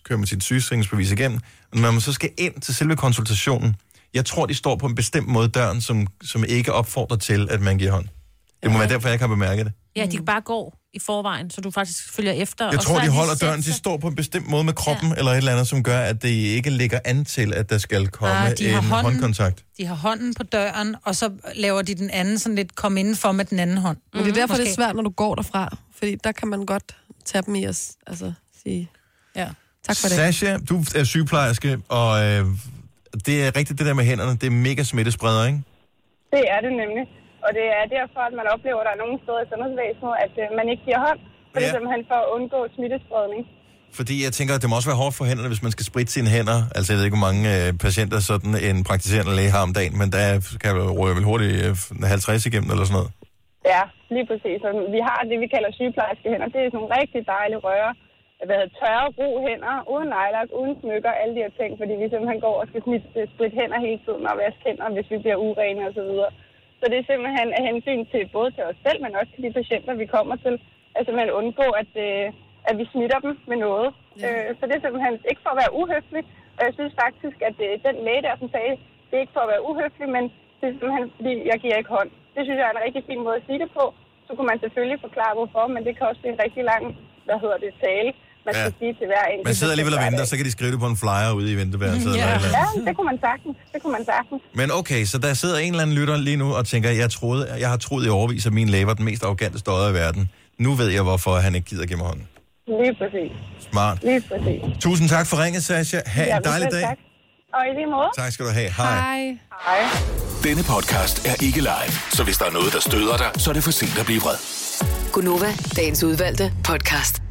A: kører man sit sygesikringsbevis igen. Men når man så skal ind til selve konsultationen, jeg tror, de står på en bestemt måde i døren, som, som ikke opfordrer til, at man giver hånd. Det må være derfor, jeg ikke har bemærket det.
D: Ja, de bare går i forvejen, så du faktisk følger efter.
A: Jeg
D: og så
A: tror,
D: er
A: de holder
D: sat
A: døren, de
D: sig-
A: står på en bestemt måde med kroppen, eller et eller andet, som gør, at det ikke ligger an til, at der skal komme
B: Ah, de har
A: en
B: hånden.
A: håndkontakt.
B: De har hånden på døren, og så laver de den anden sådan lidt kom indenfor med den anden hånd.
C: Men
D: Mm-hmm.
C: det er derfor, Måske. det er
B: Måske.
C: svært, når du går derfra. Fordi der kan man godt tage dem i og s- altså, sige...
B: Ja.
C: Tak for det.
A: Sasha, du er sygeplejerske, og øh, det er rigtigt det der med hænderne. Det er mega smittespreder, ikke?
J: Det er det nemlig. Og det er derfor, at man oplever, at der er nogle steder i sundhedsvæsenet, at øh, man ikke giver hånd. For det
A: Ja.
J: er simpelthen for at undgå smittespredning.
A: Fordi jeg tænker, at det må også være hårdt for hænderne, hvis man skal spritte sine hænder. Altså, jeg ved ikke, hvor mange øh, patienter sådan en praktiserende læge har om dagen, men der kan jeg røre vel hurtigt øh, 50 igennem eller sådan noget.
J: Ja, lige præcis. Og vi har det, vi kalder sygeplejerske hænder. Det er sådan nogle rigtig dejlige røre. Hvad hedder det, tørre, ro hænder, uden nejlagt, uden smykker, alle de her ting, fordi vi simpelthen går og skal smidt, spritte hænder hele tiden og vaske hænder, hvis vi bliver urene og Så, videre. så det er simpelthen af hensyn til både til os selv, men også til de patienter, vi kommer til, at simpelthen undgå, at, øh, at vi smitter dem med noget. Ja. Øh, så det er simpelthen ikke for at være uhøflig, og jeg synes faktisk, at øh, den læge der, som sagde, det er ikke for at være uhøflig, men det er simpelthen, fordi jeg giver ikke hånd. Det synes jeg er en rigtig fin måde at sige det på. Så kunne man selvfølgelig forklare, hvorfor, men det kan også blive en rigtig lang, hvad hedder det, tale, man
A: Ja.
J: skal sige til hver enkelt.
A: Man sidder alligevel og
J: patient
A: venter,
J: hver
A: så kan de skrive det på en flyer ude i venteværelset.
J: dag.
A: eller et eller andet.
J: Ja, det kunne man sagtens. Det kunne man sagtens.
A: Men okay, så der sidder en eller anden lytter lige nu og tænker, jeg, troede, jeg har troet i overvis, at min læge var den mest arrogante støder i verden. Nu ved jeg, hvorfor han ikke gider give mig hånden.
J: Lige præcis.
A: Smart.
J: Lige præcis.
A: Tusind tak for ringet, Sasha. Ha'
J: Ja,
A: en
J: men
A: dejlig
J: selv
A: dag.
J: Tak. Og i lige måde.
A: Tak skal du have. Hej.
J: Hej.
F: Denne podcast er ikke live, så hvis der er noget, der støder dig, så er det for sent at blive vred.
E: Gunova, dagens udvalgte podcast.